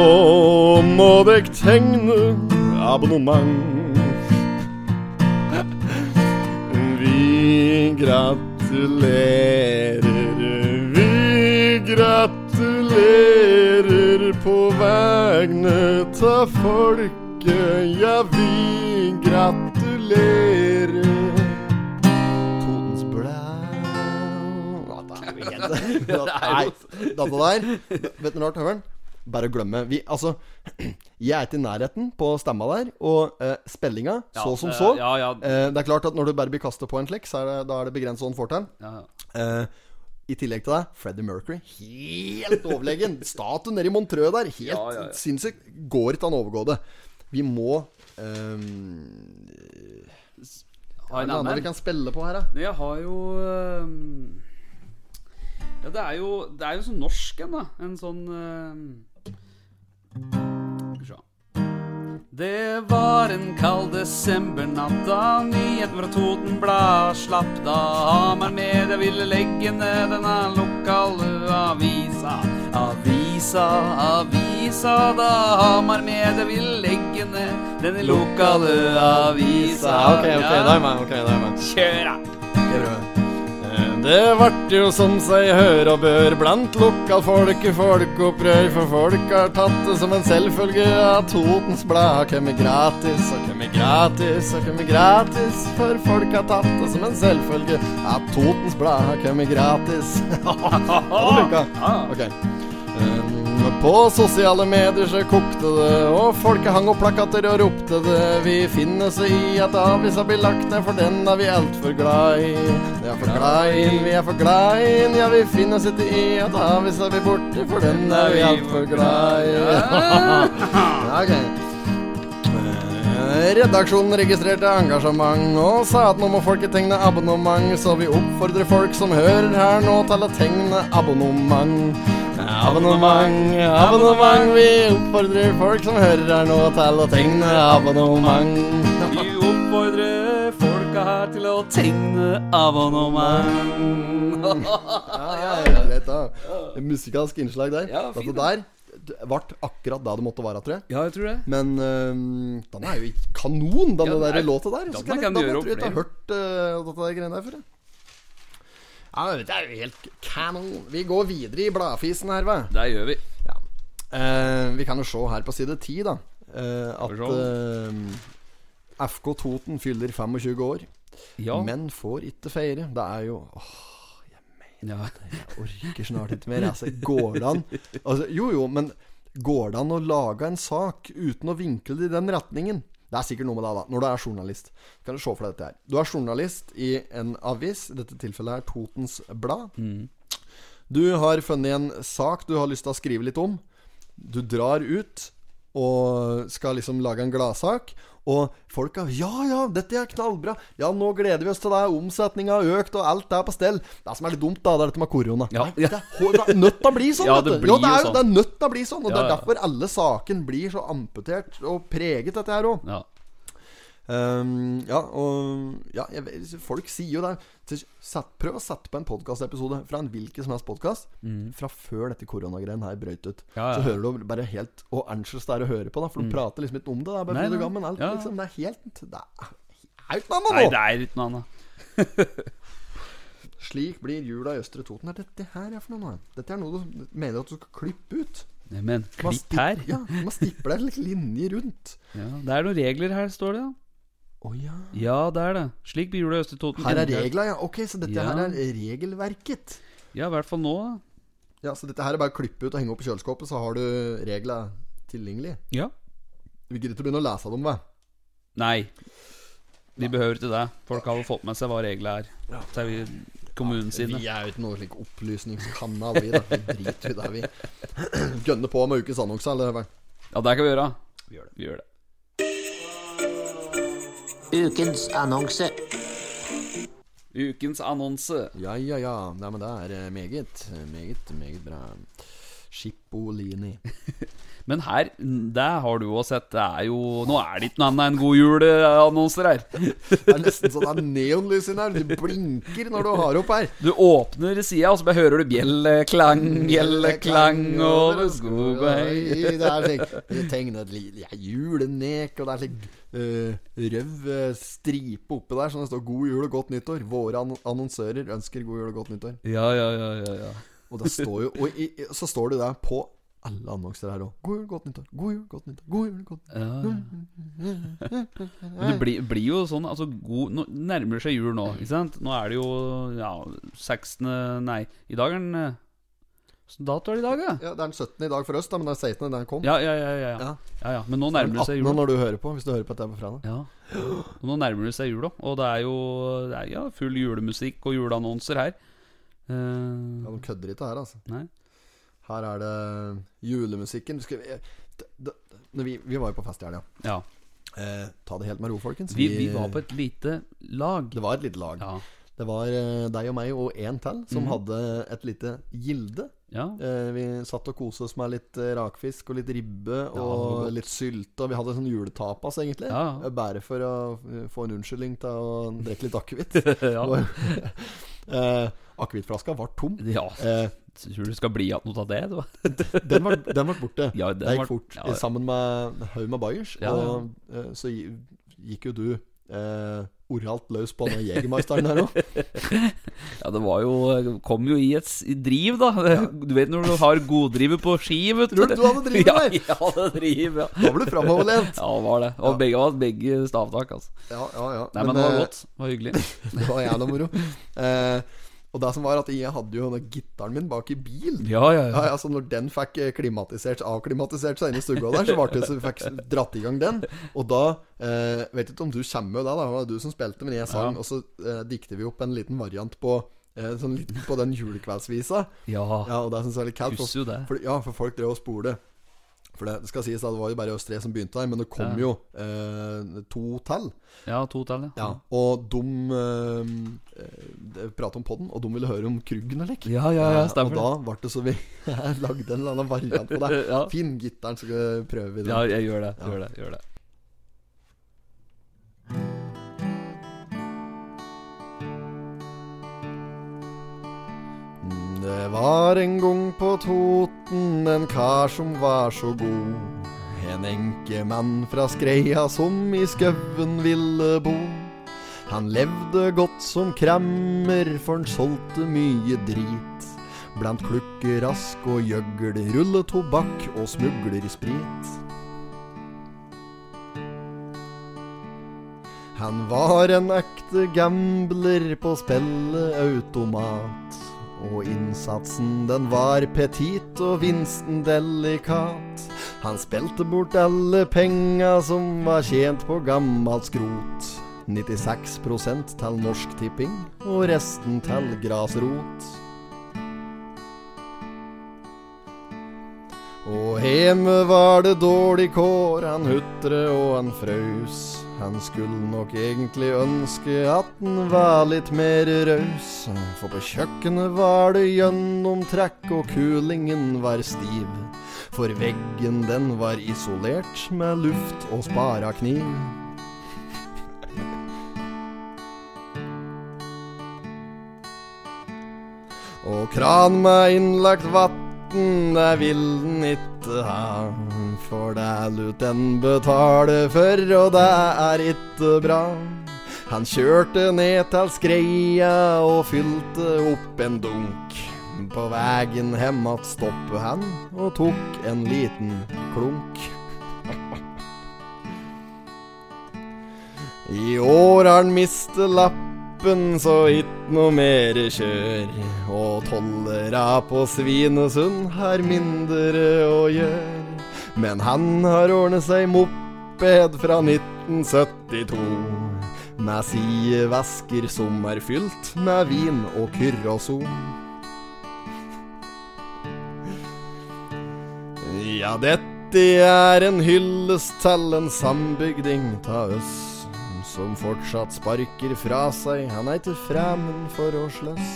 [SPEAKER 1] må dere tegne abonnement. Vi gratulerer, vi gratulerer på hver vegne ta folket jeg vil gratulere. Totens Blæ Dette er jo
[SPEAKER 2] [LAUGHS]
[SPEAKER 1] helt- Nei, Dette der Vet du noe rart, Høveren? Bare å glemme. Vi, altså, [CLEARS THROAT] jeg er ikke i nærheten på stemma der, og eh, spillinga,
[SPEAKER 2] Ja,
[SPEAKER 1] så som
[SPEAKER 2] eh,
[SPEAKER 1] så.
[SPEAKER 2] Ja, ja,
[SPEAKER 1] Eh, det er klart at når du bare blir kastet på en flekk, så er det, da er det begrenset hva han får til.
[SPEAKER 2] ja.
[SPEAKER 1] Eh, I tillegg til det, Freddie Mercury. Helt
[SPEAKER 2] [LAUGHS]
[SPEAKER 1] overlegen. Statuen nede i Montreux der. Helt
[SPEAKER 2] Ja, ja, ja.
[SPEAKER 1] sinnssykt. Går ikke an å overgå det. Vi må ehm,
[SPEAKER 2] Ha
[SPEAKER 1] Er det noe
[SPEAKER 2] en
[SPEAKER 1] annet
[SPEAKER 2] annen.
[SPEAKER 1] vi kan spille på her, da?
[SPEAKER 2] Men Jeg har jo øhm, Ja, det er jo Det er jo sånn norsk en, da. En sånn øhm, Skal vi se. Det var en kald desembernatt da nyheten fra Totenblad slapp. Da Hamar Media ville legge ned denne lokale avisa. Avisa, avisa, da Hamar Media ville legge ned denne lokale avisa. Ja.
[SPEAKER 1] meg. Okay, det er meg.
[SPEAKER 2] Kjør, da!
[SPEAKER 1] Det vart jo som seg hør og bør blant lokalfolket folkeopprør, for folk har tatt det som en selvfølge at Totens Blad har kommet gratis og kommet gratis og kommet gratis, for folk har tatt det som en selvfølge at Totens Blad har kommet gratis. [LAUGHS] Ja, det funka. Ok. Um, På sosiale medier så kokte det, og folket hang opp plakater og ropte det. Vi finner oss i at avisa blir lagt ned, for den er vi altfor glad i. Vi er for glad i, vi er for glad i, ja vi finner oss ikke i at avisa blir borte, for den er vi altfor glad i. [LAUGHS] Ja, ok. Eh, Redaksjonen registrerte engasjement og sa at nå må folket tegne abonnement, så vi oppfordrer folk som hører her nå til å tegne abonnement. Abonnement, abonnement, vi oppfordrer folk som hører her nå til å tegne abonnement.
[SPEAKER 2] Vi oppfordrer folka her til å tegne abonnement.
[SPEAKER 1] Ja, greit, da. Musikalsk innslag der.
[SPEAKER 2] Ja, fint,
[SPEAKER 1] Dette der ble akkurat da det måtte være, tror jeg.
[SPEAKER 2] [LAUGHS] Ja, jeg tror det.
[SPEAKER 1] Men øhm, den er jo i kanon, den
[SPEAKER 2] Ja, den
[SPEAKER 1] der
[SPEAKER 2] er-
[SPEAKER 1] låta der. Så
[SPEAKER 2] den
[SPEAKER 1] kan jeg,
[SPEAKER 2] kan
[SPEAKER 1] da
[SPEAKER 2] du
[SPEAKER 1] tror jeg
[SPEAKER 2] gjøre opp
[SPEAKER 1] ikke jeg har hørt øh, dette der greiene der før. jeg. Ja, men Det er jo helt kanon. Vi går videre i bladfisen her, hva.
[SPEAKER 2] Der gjør vi.
[SPEAKER 1] Eh, vi kan jo se her på side 10, da. eh, at
[SPEAKER 2] Skal vi
[SPEAKER 1] eh, FK Toten fyller 25 år,
[SPEAKER 2] Ja.
[SPEAKER 1] men får ikke feire. Det er jo åh,
[SPEAKER 2] ja.
[SPEAKER 1] [LAUGHS] Jeg orker snart ikke mer. Altså, går det an altså, Jo, jo, men går det an å lage en sak uten å vinkle det i den retningen? Det er sikkert noe med deg, da. Når du er journalist. Kan du se for deg dette her. Du er journalist i en avis, i dette tilfellet her Totens Blad. Du har funnet en sak du har lyst til å skrive litt om. Du drar ut og skal liksom lage en gladsak. Og folka 'Ja, ja, dette er knallbra'. 'Ja, nå gleder vi oss til det. Omsetninga har økt, og alt er på stell'. Det som er litt dumt, da, det er dette med korona.
[SPEAKER 2] Ja.
[SPEAKER 1] Nei, Det er hå- det er nødt til å bli sånn.
[SPEAKER 2] Ja,
[SPEAKER 1] vet
[SPEAKER 2] det
[SPEAKER 1] du. ja,
[SPEAKER 2] blir
[SPEAKER 1] det er
[SPEAKER 2] jo
[SPEAKER 1] jo det er nødt til å bli sånn. Og
[SPEAKER 2] Ja,
[SPEAKER 1] det er
[SPEAKER 2] ja.
[SPEAKER 1] derfor alle saken blir så amputert og preget, dette her òg.
[SPEAKER 2] ja.
[SPEAKER 1] Ehm, ja, og ja, jeg, vet- folk sier jo det. Til- Sett, prøv å sette på en podkastepisode fra en hvilken som helst podkast fra før dette koronagreien her brøt ut.
[SPEAKER 2] Mm. Ja, ja. Mm.
[SPEAKER 1] Så hører du bare helt Og anxious det er å høre på, da for du prater liksom ikke om det. Det er bare
[SPEAKER 2] Nei,
[SPEAKER 1] fryd og
[SPEAKER 2] nei.
[SPEAKER 1] gammen. Alt,
[SPEAKER 2] Ja.
[SPEAKER 1] liksom, det er helt Det er det er jo ikke noe annet
[SPEAKER 2] Nei,
[SPEAKER 1] nå!
[SPEAKER 2] det er ikke noe annet.
[SPEAKER 1] Slik blir jula i Østre Toten. Hva er Dette her er for noe annet. Dette er noe du mener at du skal klippe ut.
[SPEAKER 2] Nei, Men
[SPEAKER 1] Man
[SPEAKER 2] klipp
[SPEAKER 1] stip-
[SPEAKER 2] her.
[SPEAKER 1] Ja, man stipler en liten linje rundt.
[SPEAKER 2] Ja, det er noen regler her, står det. da
[SPEAKER 1] Å ja.
[SPEAKER 2] Ja, det er det. Slik blir jula i Østre Toten.
[SPEAKER 1] Her er regla, ja. Ok, så dette
[SPEAKER 2] Ja.
[SPEAKER 1] her er regelverket.
[SPEAKER 2] Ja, i hvert fall nå. da.
[SPEAKER 1] Ja, så dette her er bare å klippe ut og henge opp i kjøleskapet, så har du regler tilgjengelig.
[SPEAKER 2] Ja.
[SPEAKER 1] Vi gidder ikke å begynne å lese dem, hva?
[SPEAKER 2] Nei. De behøver ikke det. Folk har jo fått med seg hva reglene er. Så er vi kommunen sine.
[SPEAKER 1] Vi er jo ikke noe slik opplysningskanal, vi. da Vi driter jo der, vi. [CLEARS THROAT] Gønner på med ukens annonse, eller hva?
[SPEAKER 2] Ja, det kan vi gjøre. Vi gjør det. Vi gjør det.
[SPEAKER 6] Ukens annonse.
[SPEAKER 2] Ukens annonse.
[SPEAKER 1] Ja, ja, ja. Nei, men det er eh, meget, meget, meget bra. Schippolini.
[SPEAKER 2] Men her, det har du også sett. Det er jo Nå er det ikke noe annet enn god jul-annonser her.
[SPEAKER 1] Det er nesten sånn det er neonlys inni her. Det blinker når du har opp her.
[SPEAKER 2] Du åpner sida, og så bare hører du bjelleklang, bjelleklang over skog og hei.
[SPEAKER 1] Det er slik det tegner et li- ja, julenek, og det er slik eh, rød eh, stripe oppi der, sånn det står 'God jul og godt nyttår'. Våre ann- annonsører ønsker god jul og godt nyttår.
[SPEAKER 2] Ja, ja, ja, ja, ja.
[SPEAKER 1] Og, det står jo, og i, i- så står det der på alle annonser her òg. God jul, godt nyttår. God jul, godt nyttår. God jul, godt
[SPEAKER 2] Ja. Men det blir, blir jo sånn altså god, Nå nærmer det seg jul nå, ikke sant? Nå er det jo ja, 16. Nei, i dag er den eh, Hvilken dato er det i dag, da?
[SPEAKER 1] Ja, Det er den 17. i dag for oss, da, men det er 16. da den kom.
[SPEAKER 2] Ja, ja, ja. ja, ja. Sånn
[SPEAKER 1] Ja.
[SPEAKER 2] ja, ja. Men nå
[SPEAKER 1] Den
[SPEAKER 2] nærmer det
[SPEAKER 1] 18.
[SPEAKER 2] seg jul.
[SPEAKER 1] når du hører på, hvis du hører på dette på fredag.
[SPEAKER 2] Ja. Og nå nærmer det seg jul, da. Og det er jo det er, ja, full julemusikk og juleannonser her. Eh,
[SPEAKER 1] Ja, De kødder ikke her, altså.
[SPEAKER 2] Nei.
[SPEAKER 1] Her er det julemusikken. Du Skal, jeg- d- d- når vi, vi var jo på fest i helga.
[SPEAKER 2] ja.
[SPEAKER 1] Eh, ta det helt med ro, folkens.
[SPEAKER 2] Vi, vi var på et lite lag.
[SPEAKER 1] Det var et lite lag.
[SPEAKER 2] Ja. Mhm.
[SPEAKER 1] Det var eh, deg og meg og én til som hadde et lite gilde.
[SPEAKER 2] [LAUGHS] ja.
[SPEAKER 1] Eh, vi satt og koste oss med litt eh, rakfisk og litt ribbe
[SPEAKER 2] det var
[SPEAKER 1] og litt sylte. Og vi hadde sånn juletapas, egentlig.
[SPEAKER 2] Ja, ja.
[SPEAKER 1] Eh, Bare for å eh, få en unnskyldning til å drikke litt
[SPEAKER 2] [LAUGHS]
[SPEAKER 1] akevitt.
[SPEAKER 2] ja.
[SPEAKER 1] [LAUGHS] eh, Akevittflaska var tom.
[SPEAKER 2] ja.
[SPEAKER 1] Eh,
[SPEAKER 2] Tror du det skal bli igjen noe av det? Du?
[SPEAKER 1] Den var, den var borte.
[SPEAKER 2] Ja, den
[SPEAKER 1] det gikk
[SPEAKER 2] var-
[SPEAKER 1] fort.
[SPEAKER 2] ja, ja.
[SPEAKER 1] Sammen med en haug med bayers.
[SPEAKER 2] Ja, ja.
[SPEAKER 1] Og eh, så gi- gikk jo du eh, oralt løs på denne Jegermeisteren her òg.
[SPEAKER 2] Ja, det var jo Kom jo i et s- i driv, da. [LAUGHS] Du vet når du har goddrivet på ski, vet du.
[SPEAKER 1] Tror du du hadde drivet,
[SPEAKER 2] [LAUGHS] ja,
[SPEAKER 1] eller?
[SPEAKER 2] jeg hadde driv, ja.
[SPEAKER 1] Da ble du framoverlent.
[SPEAKER 2] Ja, det var det. Og begge, var begge stavtak, altså.
[SPEAKER 1] Ja, ja, ja.
[SPEAKER 2] Nei, men, det var
[SPEAKER 1] eh,
[SPEAKER 2] godt. Det var hyggelig.
[SPEAKER 1] det var jævla moro. Eh, og det som var at jeg hadde jo denne gitaren min bak i bil.
[SPEAKER 2] [LAUGHS] Ja, ja,
[SPEAKER 1] Ja, ja, så når den fikk eh, klimatisert avklimatisert seg inn i stua der, så ble det så vi fikk dratt i gang den. Og da eh, Vet ikke om du kommer med det, da. Det var du som spilte, men jeg sang.
[SPEAKER 2] Ja.
[SPEAKER 1] Og så eh, dikter vi opp en liten variant på eh, Sånn liten på den julekveldsvisa.
[SPEAKER 2] Ja,
[SPEAKER 1] Ja, og det syns jeg er sånn litt kaldt.
[SPEAKER 2] husker jo det.
[SPEAKER 1] For, ja, for folk drev og spole. For det, det skal sies at det var jo bare oss tre som begynte der, men det kom
[SPEAKER 2] Ja.
[SPEAKER 1] jo eh, to til.
[SPEAKER 2] Ja, to tall,
[SPEAKER 1] Ja,
[SPEAKER 2] ja.
[SPEAKER 1] og de eh, prata om podden, og de ville høre om Kruggen og lekk.
[SPEAKER 2] Ja, ja, ja,
[SPEAKER 1] og
[SPEAKER 2] stemmer
[SPEAKER 1] da
[SPEAKER 2] det.
[SPEAKER 1] ble det så vi [LAUGHS] lagde en eller annen variant på det.
[SPEAKER 2] [LAUGHS] Ja.
[SPEAKER 1] Finn gitaren, så prøver vi det.
[SPEAKER 2] Ja, jeg gjør det. Gjør det, gjør det.
[SPEAKER 1] Det var en gang på Toten en kar som var så god. En enkemann fra Skreia som i skauen ville bo. Han levde godt som krammer, for han solgte mye drit. Blant klukkerask og gjøgl, rulletobakk og smuglersprit. Han var en ekte gambler på spilleautomat. Og innsatsen den var petit og vinsten delikat. Han spilte bort alle penga som var tjent på gammalt skrot. 96 til Norsk Tipping og resten til grasrot. Og hjemme var det dårlig kår, han hutre og han frøs. Han skulle nok egentlig ønske at han var litt mer raus. For på kjøkkenet var det gjennomtrekk, og kulingen var stiv. For veggen den var isolert med luft og spara kniv. Og kran med innlagt vann Skatten, det vil den ikke ha. For det lot den betale for, og det er ikke bra. Han kjørte ned til skreia og fylte opp en dunk. På vegen hjem att stoppet han og tok en liten klunk. I år har han mistet lappen lappen, så ikke noe mere kjør. Og tollera på Svinesund har mindre å gjøre. Men han har ordnet seg moped fra 1972. Med sidevesker som er fylt med vin og kyrroson. Ja, dette er en hyllest til en sambygding ta oss Som fortsatt sparker fra seg, han er ikke fremmed for å sløss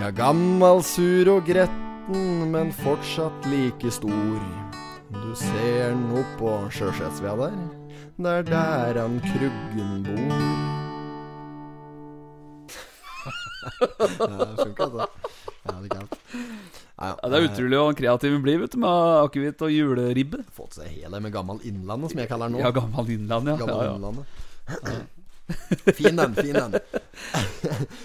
[SPEAKER 1] Ja, gammal, sur og gretten, men fortsatt like stor Du ser den oppå Sjøsetsvia der, det er der han Kruggen bor [LAUGHS] Ja, det funker det Ja, det er galt Nei,
[SPEAKER 2] Ja, det er utrolig hvor kreativ vi blir vet du, med akevitt og juleribbe.
[SPEAKER 1] fått seg hele med gammel Innlandet, som jeg kaller den nå.
[SPEAKER 2] Ja, gammel Innland, ja.
[SPEAKER 1] gammel
[SPEAKER 2] ja, ja.
[SPEAKER 1] Innlandet. fin den, fin den.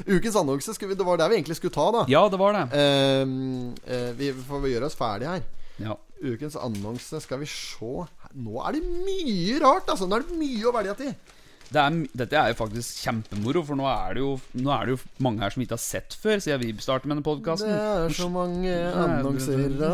[SPEAKER 1] [LAUGHS] Ukens annonse, skulle vi, det var der vi egentlig skulle ta, da.
[SPEAKER 2] Ja, det var det.
[SPEAKER 1] Ehm, eh, vi får gjøre oss ferdig her.
[SPEAKER 2] Ja.
[SPEAKER 1] Ukens annonse, skal vi se Nå er det mye rart, altså! Nå er det mye å velge til.
[SPEAKER 2] Det er, dette er jo faktisk kjempemoro, for nå er, det jo, nå er det jo mange her som ikke har sett før, siden vi startet med denne
[SPEAKER 1] Det er så
[SPEAKER 2] podkasten.
[SPEAKER 1] mange
[SPEAKER 2] Nei,
[SPEAKER 1] annonser
[SPEAKER 2] det-
[SPEAKER 1] da.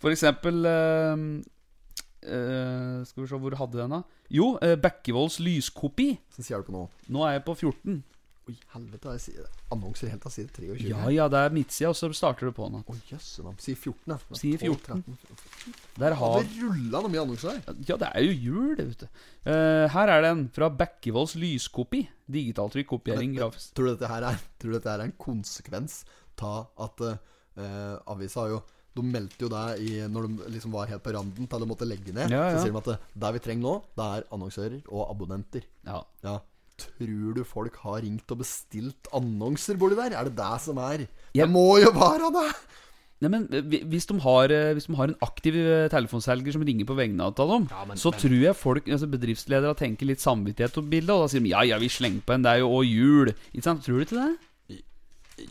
[SPEAKER 2] For eksempel eh, eh, Skal vi se, hvor hadde den, da? Jo, eh, Bekkevolds lyskopi.
[SPEAKER 1] Så sier du på nå
[SPEAKER 2] Nå er jeg på 14.
[SPEAKER 1] Oi, helvete, jeg sier annonser helt av side 23.
[SPEAKER 2] Ja ja, det er midtsida, og så starter du på den. da.
[SPEAKER 1] Å, jøsse navn. Si 14, da.
[SPEAKER 2] Si 14. Der
[SPEAKER 1] Har
[SPEAKER 2] har
[SPEAKER 1] det rulla noe mye annonser her?
[SPEAKER 2] Ja, det er jo jul, det, vet du. Eh, her er den, fra Bekkevolds lyskopi. Digitaltrykk, kopiering, grafisk
[SPEAKER 1] Tror du dette her er, tror du dette her er en konsekvens av at eh, avisa har jo de meldte jo det i, når de liksom var helt på randen til de måtte legge ned.
[SPEAKER 2] Ja, ja.
[SPEAKER 1] Så sier de at det, det vi trenger nå, det er annonsører og abonnenter.
[SPEAKER 2] Ja.
[SPEAKER 1] Ja Tror du folk har ringt og bestilt annonser borti der? Er det det som er? Det
[SPEAKER 2] Jeg-
[SPEAKER 1] må jo være det!
[SPEAKER 2] Nei, men hvi- hvis de, har, eh, hvis de har en aktiv eh, telefonselger som ringer på vegne av dem, så tror jeg folk, altså bedriftsledere tenker litt samvittighet på bildet, og da sier de ja, ja, vi slenger på en, det er jo òg jul. Ikke sant? Tror du ikke det?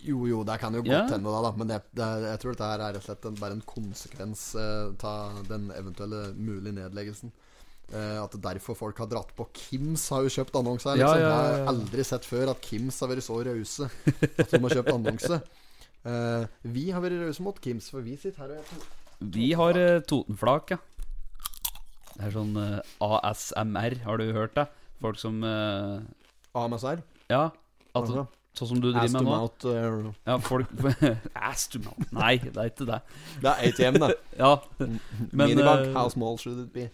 [SPEAKER 1] Jo, jo, det kan jo godt
[SPEAKER 2] Ja.
[SPEAKER 1] hende, da, da. men jeg, det, er- jeg tror dette her er rett og slett en, bare en konsekvens eh, av den eventuelle mulige nedleggelsen. Eh, at derfor folk har dratt på. Kims har jo kjøpt annonse her.
[SPEAKER 2] Ja,
[SPEAKER 1] Liksom.
[SPEAKER 2] ja,
[SPEAKER 1] Jeg
[SPEAKER 2] ja, ja.
[SPEAKER 1] har aldri sett før at Kims har vært så rause at de har kjøpt
[SPEAKER 2] [LAUGHS]
[SPEAKER 1] annonse. Eh, vi har vært rause mot Kims, for vi sitter her og
[SPEAKER 2] Vi har eh, Totenflak, ja. Det er sånn eh, ASMR, har du hørt det? Folk som eh,
[SPEAKER 1] AMSR.
[SPEAKER 2] Ja. At,
[SPEAKER 1] Altså,
[SPEAKER 2] sånn som du
[SPEAKER 1] Ass
[SPEAKER 2] driver
[SPEAKER 1] to
[SPEAKER 2] med nå.
[SPEAKER 1] mouth eh,
[SPEAKER 2] Ja,
[SPEAKER 1] [LAUGHS]
[SPEAKER 2] folk Ass to mouth. Nei, det er ikke det.
[SPEAKER 1] Det er ATM, det.
[SPEAKER 2] Ja, [LAUGHS] men
[SPEAKER 1] Minibank,
[SPEAKER 2] eh,
[SPEAKER 1] how small should it be?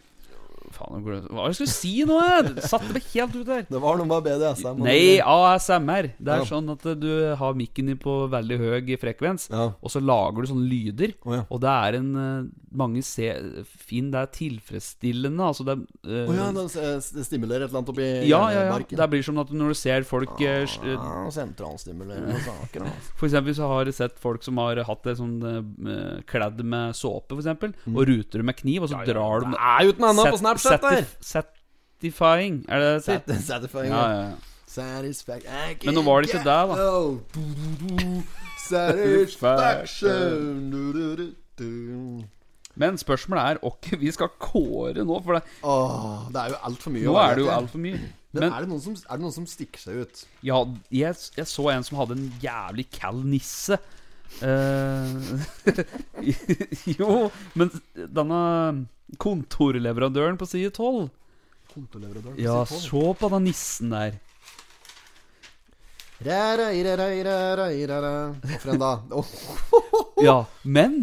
[SPEAKER 2] Faen, hvor- hva var det jeg skulle si nå? Jeg satte meg helt ut der.
[SPEAKER 1] Det var noe med BDSM. og-
[SPEAKER 2] Nei, ASMR. Det
[SPEAKER 1] Ja.
[SPEAKER 2] er sånn at eh, du har mikken din på veldig høy frekvens,
[SPEAKER 1] Ja.
[SPEAKER 2] og så lager du sånne lyder.
[SPEAKER 1] Å, ja.
[SPEAKER 2] Og det er en eh, Mange ser Finn, det er tilfredsstillende. Altså, det er eh,
[SPEAKER 1] Å ja, det det stimulerer et eller annet oppi
[SPEAKER 2] Ja, ja, ja.
[SPEAKER 1] marken.
[SPEAKER 2] Det blir som at når du ser folk eh, s- eh,
[SPEAKER 1] sentralstimulerende saker. [LAUGHS] Altså.
[SPEAKER 2] For eksempel så har du sett folk som har hatt det sånn eh, kledd med såpe, for eksempel,
[SPEAKER 1] Mm.
[SPEAKER 2] og ruter det med kniv, og så drar du med
[SPEAKER 1] Er uten annet på
[SPEAKER 2] Sat-
[SPEAKER 1] Snapchat der!
[SPEAKER 2] satif- Satisfying, er det det det heter?
[SPEAKER 1] Satisfying.
[SPEAKER 2] Ja,
[SPEAKER 1] Ja,
[SPEAKER 2] ja, ja.
[SPEAKER 1] Satisfaction.
[SPEAKER 2] Men nå var det ikke der, da.
[SPEAKER 1] Satisfaction du, du, du, du.
[SPEAKER 2] Men spørsmålet er åkke vi skal kåre nå, for det,
[SPEAKER 1] Åh, det er jo altfor mye. å
[SPEAKER 2] nå
[SPEAKER 1] være
[SPEAKER 2] er det jo
[SPEAKER 1] til.
[SPEAKER 2] altfor mye.
[SPEAKER 1] Men,
[SPEAKER 2] Men
[SPEAKER 1] er, det [CLEARS THROAT] noen som, er det noen som stikker seg ut?
[SPEAKER 2] ja, jeg, jeg så en som hadde en jævlig kald nisse. Eh, [LAUGHS] jo, men denne kontorleverandøren på side 12
[SPEAKER 1] Kontoleverandøren
[SPEAKER 2] Ja,
[SPEAKER 1] sier på.
[SPEAKER 2] se på den nissen der.
[SPEAKER 1] Ra, ra, ra, ra, ra, ra, ra. Hvorfor en da? Åh,
[SPEAKER 2] Ja, men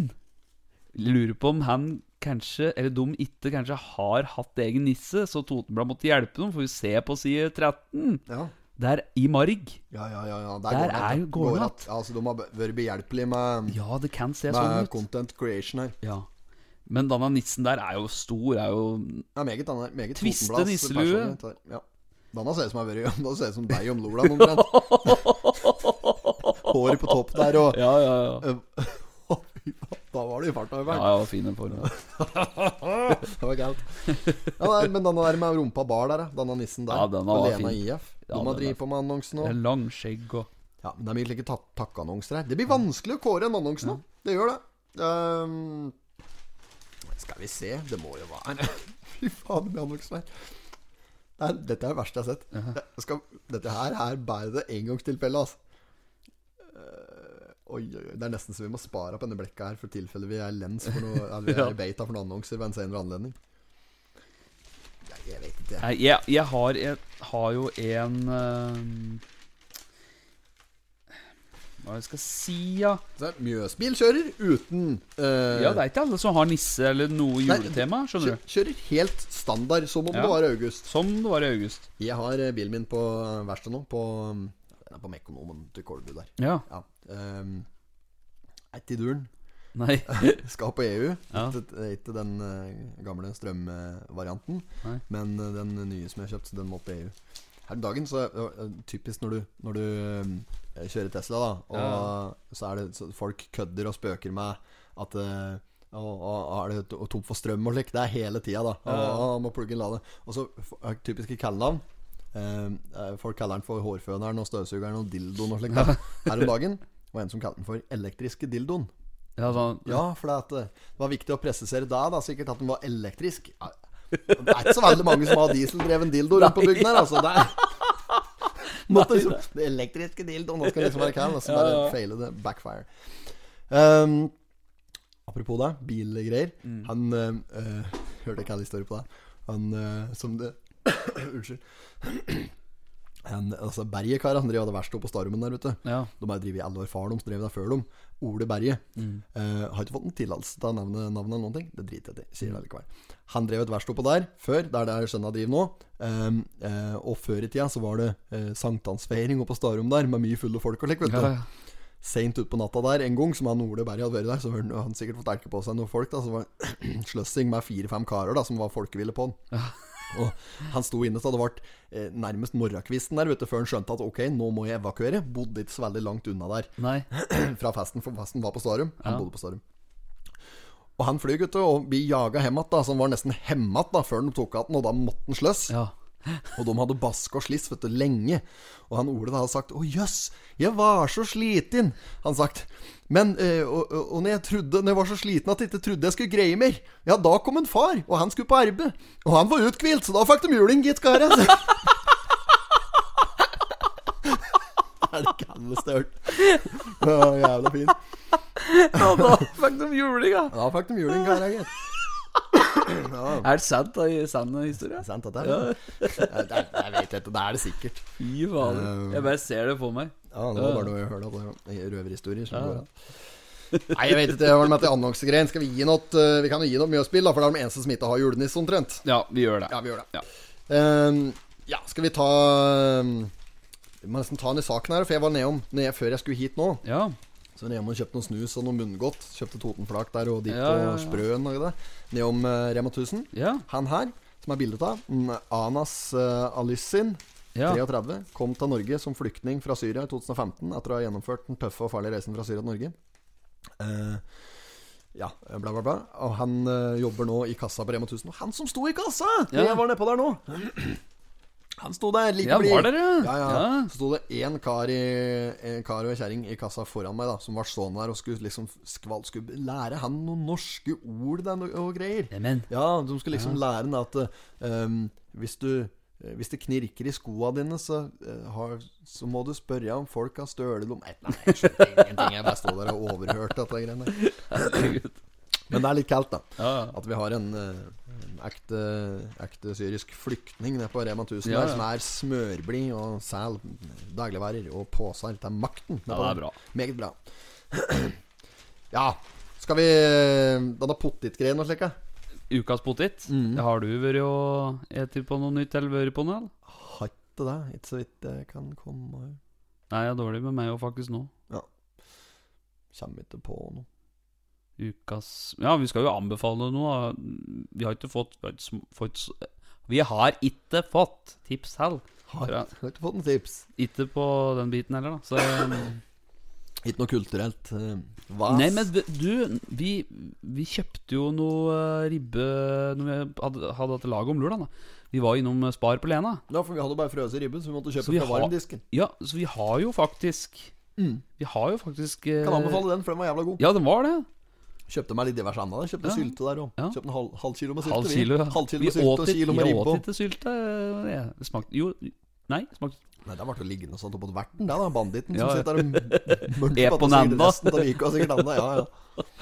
[SPEAKER 2] Lurer på om han kanskje, eller de ikke kanskje har hatt egen nisse, så Totenblad måtte hjelpe dem, for vi ser på side 13.
[SPEAKER 1] ja.
[SPEAKER 2] Der i marg.
[SPEAKER 1] Ja, ja, ja, ja. Der,
[SPEAKER 2] Der
[SPEAKER 1] det
[SPEAKER 2] er
[SPEAKER 1] an.
[SPEAKER 2] jo- går det an.
[SPEAKER 1] an. Ja, altså, de har vært behjelpelige med,
[SPEAKER 2] Ja, det kan se
[SPEAKER 1] med
[SPEAKER 2] sånn ut.
[SPEAKER 1] content creation her.
[SPEAKER 2] Ja. Men denne nissen der er jo stor, er jo
[SPEAKER 1] Ja, meget han er. Meget
[SPEAKER 2] Tviste
[SPEAKER 1] Totenblads
[SPEAKER 2] nisselue.
[SPEAKER 1] personlighet her. Ja. Danna ser ut som jeg har vært i- Da ser ut som deg om Lola
[SPEAKER 2] [LAUGHS]
[SPEAKER 1] omtrent. Håret på topp der og
[SPEAKER 2] Ja, ja, ja.
[SPEAKER 1] [LAUGHS] Å, fy faen, Da var det i farta.
[SPEAKER 2] Ja,
[SPEAKER 1] Ja.
[SPEAKER 2] ja, fin en form.
[SPEAKER 1] Det var galt. Ja, nei, men denne der med rumpa bar der, da. Denne nissen der.
[SPEAKER 2] Ja, den
[SPEAKER 1] på
[SPEAKER 2] var
[SPEAKER 1] Lena
[SPEAKER 2] fin.
[SPEAKER 1] IF.
[SPEAKER 2] Ja,
[SPEAKER 1] De har
[SPEAKER 2] den
[SPEAKER 1] drevet på med annonsen
[SPEAKER 2] Det
[SPEAKER 1] nå.
[SPEAKER 2] er langskjegg og
[SPEAKER 1] Ja, men det er mye like tak takkannonser her. Det blir vanskelig å kåre en annonse nå. Det gjør det. Ehm, skal vi se Det må jo være [LAUGHS] Fy faen, det blir annonser her. Det er, dette er det verste jeg har sett. Jeg skal, dette her er bare det engangstilfellet, altså. Eh, Oi, oi, oi. Det er nesten så vi må spare opp denne blekka her for tilfelle vi er lens for noe
[SPEAKER 2] [LAUGHS]
[SPEAKER 1] Eller vi er i beta for noen annonser ved en senere anledning. Jeg, jeg vet ikke.
[SPEAKER 2] Nei, jeg, jeg, har, jeg har jo en eh, Hva skal jeg si, ja?
[SPEAKER 1] Så er det Mjøsbilkjører uten eh,
[SPEAKER 2] Ja, det er ikke alle som har nisse eller noe
[SPEAKER 1] Nei,
[SPEAKER 2] juletema,
[SPEAKER 1] Kjø-
[SPEAKER 2] skjønner du.
[SPEAKER 1] Kjører helt standard, som om
[SPEAKER 2] Ja.
[SPEAKER 1] det var august.
[SPEAKER 2] Som det var i august.
[SPEAKER 1] Jeg har eh, bilen min på eh, verksted nå, på um, Den er på Mekonomen til Kolbu der.
[SPEAKER 2] Ja.
[SPEAKER 1] Ja. Um, er til duren.
[SPEAKER 2] Nei. [LAUGHS]
[SPEAKER 1] Skal på EU.
[SPEAKER 2] Ja.
[SPEAKER 1] Ikke, ikke den eh, gamle strømvarianten,
[SPEAKER 2] Nei.
[SPEAKER 1] men eh, den nye som jeg har kjøpt, så den må på EU. Her om dagen, så eh, typisk når du, når du eh, kjører Tesla, da, og
[SPEAKER 2] Ja.
[SPEAKER 1] så er det så folk kødder og spøker med at eh, og, og, og er det to- tom for strøm og slik? Det er hele tida, da. Og, og må plugge inn lade. Og så f- er det typiske kallenavn. Eh, folk kaller den for
[SPEAKER 2] [LAUGHS]
[SPEAKER 1] hårføneren og støvsugeren og dildoen og slik. da. Her om dagen var en som kalte den for elektriske dildoen.
[SPEAKER 2] Ja, sånn,
[SPEAKER 1] Ja, for det, at eh, det var viktig å presisere da, da sikkert at den var elektrisk. Ja, Det er ikke så veldig mange som har dieseldreven dildo rundt på bygden her, altså. Det er Måtte liksom Det elektriske dildoen, nå skal det liksom være cal, og så bare feile det. Backfire. Ehm, apropos det, bilgreier. Han eh, eh, Hørte ikke all historie på det. Han eh, som det [COUGHS] Unnskyld. [COUGHS] Han, altså Berget-kara, han drev og hadde verksted på Starumen der, vet du.
[SPEAKER 2] ja.
[SPEAKER 1] De har drevet i alle år far deres, drev der før dem. Ole Berge.
[SPEAKER 2] Mm.
[SPEAKER 1] Eh, har ikke fått en tillatelse til å nevne navnet eller noen ting. Det driter jeg i, sier det likevel. Han drev et verksted oppå der før, der det er sønna driver nå. Ehm, eh, og før i tida så var det eh, sankthansfeiring oppe på Starum der, med mye fulle folk og slik, vet du.
[SPEAKER 2] Ja, ja.
[SPEAKER 1] Seint utpå natta der, en gang som han Ole Berg hadde vært der, så har han- han sikkert fått elke på seg noen folk. da Så var det [CLEARS THROAT] sløssing med fire-fem karer da som var folkeville på han. Og han sto inne, så det ble eh, nærmest morgenkvisten der, vet du, før han skjønte at ok, nå må jeg evakuere. Bodde ikke så veldig langt unna der
[SPEAKER 2] Nei.
[SPEAKER 1] [CLEARS THROAT] fra festen, for festen var på Starum. Han bodde på Starum. Og han flyr, gutter, og blir jaga hjem igjen, så han var nesten hemmet da før de tok igjen, og da måtte han sløss.
[SPEAKER 2] Ja.
[SPEAKER 1] Og de hadde baske og sliss vet du, lenge. Og han Ole da hadde sagt 'Å jøss, jeg var så sliten'. Han sagt. Men eh, og, og og når jeg trodde Når jeg var så sliten at jeg ikke trodde jeg skulle greie mer, ja, da kom en far, og han skulle på arbeid. Og han var uthvilt, så da fikk de juling, gitt, karer. [LAUGHS] Er det ikke alle størt? Å, jævla fint.
[SPEAKER 2] ja da fikk de juling, ja.
[SPEAKER 1] Da fikk de juling, karer, gitt.
[SPEAKER 2] Er det sant, da, i sann historie?
[SPEAKER 1] Sant, dette [LAUGHS] er det. er- Jeg vet ikke, det er det sikkert.
[SPEAKER 2] Fy fader. Jeg bare ser det for meg.
[SPEAKER 1] Ja, det var bare noe jeg hørte at det var røverhistorier. som går an. Nei, jeg vet ikke. Hva er det med dette annonsegreiene? Skal vi gi noe eh, Vi kan jo gi noe mye å spille, da, for det er de eneste som ikke har julenisse, omtrent.
[SPEAKER 2] Ja, vi gjør det.
[SPEAKER 1] Ja, vi gjør det.
[SPEAKER 2] Ja.
[SPEAKER 1] Ehm, ja, skal vi ta ehm, Vi må nesten ta den i saken her, for jeg var nedom når jeg, før jeg skulle hit nå.
[SPEAKER 2] Ja.
[SPEAKER 1] Så nedom og kjøpte noe snus og noe munngodt. Kjøpte Totenflak der og ditt
[SPEAKER 2] Ja, ja, ja.
[SPEAKER 1] og Sprøen og det. Nedom eh, Rema 1000.
[SPEAKER 2] Ja.
[SPEAKER 1] Han her, som er bildet av, mm, Anas uh, Alissin,
[SPEAKER 2] Ja.
[SPEAKER 1] 33, kom til Norge som flyktning fra Syria i 2015 etter å ha gjennomført den tøffe og farlige reisen fra Syria til Norge. Eh, ja, eh, bla, bla, bla. Og han eh, jobber nå i kassa på Rema 1000. Og han som sto i kassa!
[SPEAKER 2] Ja.
[SPEAKER 1] Jeg var nedpå der nå. Han sto der like
[SPEAKER 2] Ja,
[SPEAKER 1] blid.
[SPEAKER 2] var dere?
[SPEAKER 1] Ja, ja.
[SPEAKER 2] Ja.
[SPEAKER 1] Så sto det én kar, i- en kar og ei kjerring i kassa foran meg, da som var sånn der og skulle liksom skval, skulle lære han noen norske ord der, og- og greier.
[SPEAKER 2] Neimen.
[SPEAKER 1] Ja, de skulle liksom lære den at eh, um, hvis, du, eh, hvis det knirker i skoa dine, så, eh, har, så må du spørre om folk har støledom Nei, nei, jeg skjønte
[SPEAKER 2] [LAUGHS]
[SPEAKER 1] ingenting. Jeg bare sto der og overhørte dette greiene. der.
[SPEAKER 2] Herregud.
[SPEAKER 1] Men det er litt kaldt, da.
[SPEAKER 2] Ja, ja.
[SPEAKER 1] At vi har en, eh, en ekte, ekte syrisk flyktning nede på Rema 1000
[SPEAKER 2] Ja, ja.
[SPEAKER 1] der, som er smørblid og sel, dagligvarer og poser til makten.
[SPEAKER 2] Ja, det er bra.
[SPEAKER 1] Meget bra. [CLEARS THROAT] ja. Skal vi eh, Denne potetgreien og slik, ja.
[SPEAKER 2] [LAUGHS] Ukas potet. Har du vært og spist på noe nytt, eller vært på noe? eller?
[SPEAKER 1] Har ikke det, ikke så vidt jeg kan komme
[SPEAKER 2] Nei, jeg er dårlig med meg og faktisk nå.
[SPEAKER 1] Kommer ikke på noe.
[SPEAKER 2] Ukas Ja, vi skal jo anbefale noe. da. Vi har ikke fått vi har ikke sm- fått s- Vi har ikke fått tips heller.
[SPEAKER 1] Har
[SPEAKER 2] Ja.
[SPEAKER 1] ikke- har ikke fått noen tips.
[SPEAKER 2] Ikke på den biten heller, da. Så um,
[SPEAKER 1] Ikke noe kulturelt. eh, Hva?
[SPEAKER 2] Nei, men v- du, vi, vi kjøpte jo noe eh, ribbe når vi hadde, hadde hatt lag om lørdag. da. Vi var innom eh, Spar på Lena.
[SPEAKER 1] Ja, for vi hadde bare frøs i ribben, så vi måtte
[SPEAKER 2] Så
[SPEAKER 1] kjøpe
[SPEAKER 2] vi
[SPEAKER 1] fra
[SPEAKER 2] har-
[SPEAKER 1] varmdisken.
[SPEAKER 2] Ja, så vi har jo faktisk Vi har jo faktisk eh,
[SPEAKER 1] Mm. Kan anbefale den, for den var jævla god.
[SPEAKER 2] Ja, den var det.
[SPEAKER 1] Kjøpte meg litt diverse annet. der. Kjøpte
[SPEAKER 2] Ja.
[SPEAKER 1] sylte der òg.
[SPEAKER 2] Ja.
[SPEAKER 1] Kjøpte en halv, halv kilo med sylte.
[SPEAKER 2] Halv
[SPEAKER 1] vi.
[SPEAKER 2] kilo. ja.
[SPEAKER 1] halv kilo
[SPEAKER 2] Vi
[SPEAKER 1] med sylte og
[SPEAKER 2] åt
[SPEAKER 1] kilo
[SPEAKER 2] ikke-
[SPEAKER 1] med
[SPEAKER 2] jeg
[SPEAKER 1] ribbe.
[SPEAKER 2] åt
[SPEAKER 1] og-
[SPEAKER 2] ikke sylte. eh, jeg- Det smakte Jo, nei. det Smakte
[SPEAKER 1] Nei, der ble det liggende sånn oppå verten, der, da. Banditten
[SPEAKER 2] Ja,
[SPEAKER 1] som
[SPEAKER 2] ja.
[SPEAKER 1] sitter der og
[SPEAKER 2] [LAUGHS]
[SPEAKER 1] mørker
[SPEAKER 2] Er
[SPEAKER 1] på
[SPEAKER 2] på
[SPEAKER 1] at det sikkert
[SPEAKER 2] nanda.
[SPEAKER 1] resten av uka, sikkert anda. Ja,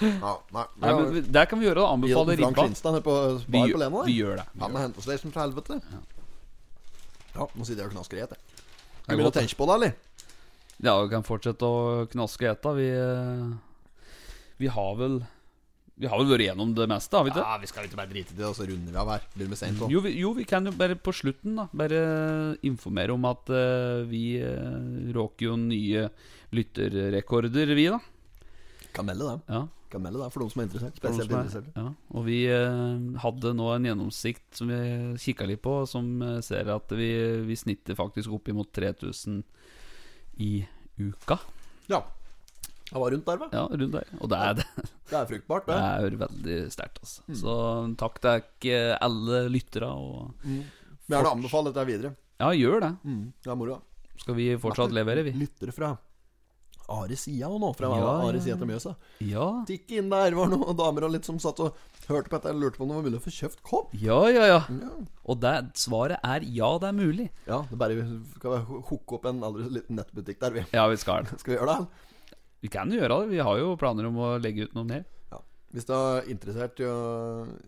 [SPEAKER 2] [LAUGHS]
[SPEAKER 1] ja. ja nei,
[SPEAKER 2] Nei, men vi- Der kan vi
[SPEAKER 1] Vi
[SPEAKER 2] gjøre det.
[SPEAKER 1] hadde
[SPEAKER 2] Anbefale
[SPEAKER 1] Frank
[SPEAKER 2] ribba.
[SPEAKER 1] Skinstad nede på
[SPEAKER 2] Vi,
[SPEAKER 1] Spar på Lena. der.
[SPEAKER 2] vi gjør det.
[SPEAKER 1] Han har hentet seg som til helvete. Ja. nå sitter jeg og knasker i et, jeg.
[SPEAKER 2] er
[SPEAKER 1] Skal vi begynne å
[SPEAKER 2] godt,
[SPEAKER 1] tenke på det, eller?
[SPEAKER 2] Ja, vi kan fortsette å knaske i etta. Vi, eh, vi har vel Vi har vel vært gjennom det meste, har vi ikke?
[SPEAKER 1] Ja, vi skal ikke bare drite i det, og så runder vi av her. Blir det med sent òg.
[SPEAKER 2] Jo vi, jo, vi kan jo bare på slutten da bare informere om at eh, vi eh, råker jo nye lytterrekorder, vi, da.
[SPEAKER 1] Kan melde det.
[SPEAKER 2] Ja,
[SPEAKER 1] Kan melde det for noen som er interessert.
[SPEAKER 2] for noen
[SPEAKER 1] Spesielt
[SPEAKER 2] som er-
[SPEAKER 1] interessert.
[SPEAKER 2] ja. Og vi eh, hadde nå en gjennomsikt som vi kikka litt på, som eh, ser at vi, vi snitter faktisk opp imot 3000 i uka.
[SPEAKER 1] Ja. Jeg var rundt der, hva.
[SPEAKER 2] Ja, rundt der. Og det er, det
[SPEAKER 1] Det er fruktbart, det.
[SPEAKER 2] er veldig sterkt, altså.
[SPEAKER 1] Mm.
[SPEAKER 2] Så takk til dere eh, alle lyttere. Og
[SPEAKER 1] Men jeg vil anbefale dette videre. Mm.
[SPEAKER 2] ja, gjør det.
[SPEAKER 1] Det er moro. da.
[SPEAKER 2] Skal vi fortsatt levere, vi?
[SPEAKER 1] Lyttere fra Are Sia og nå, fra
[SPEAKER 2] Ja, ja,
[SPEAKER 1] Are
[SPEAKER 2] ja.
[SPEAKER 1] Sia til Mjøsa.
[SPEAKER 2] Ja.
[SPEAKER 1] Tikk inn der var noen damer og litt som satt og hørte på dette og lurte på om det var mulig å få kjøpt kopp.
[SPEAKER 2] Ja, ja, ja.
[SPEAKER 1] Ja.
[SPEAKER 2] Og det, svaret er ja, det er mulig.
[SPEAKER 1] Ja, det er bare vi skal vi hooke opp en aldri så liten nettbutikk der, vi.
[SPEAKER 2] Ja, vi skal det.
[SPEAKER 1] Skal vi gjøre det?
[SPEAKER 2] Vi kan jo gjøre det. Vi har jo planer om å legge ut noe mer.
[SPEAKER 1] Ja. Hvis du er interessert i å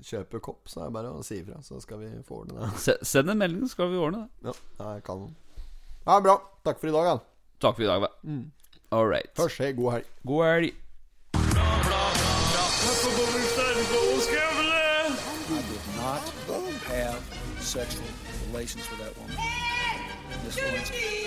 [SPEAKER 1] kjøpe kopp, så er det bare å si ifra, så skal vi få ordne det. [LAUGHS]
[SPEAKER 2] Se, send en melding, så skal vi ordne det.
[SPEAKER 1] Ja, det er kanon. Ja, bra. Takk for i dag, da.
[SPEAKER 2] Takk for i dag, da. All right.
[SPEAKER 1] Først, hei, god helg.
[SPEAKER 2] God helg.
[SPEAKER 3] Not have sexual relations with that woman. Miss Lewinsky.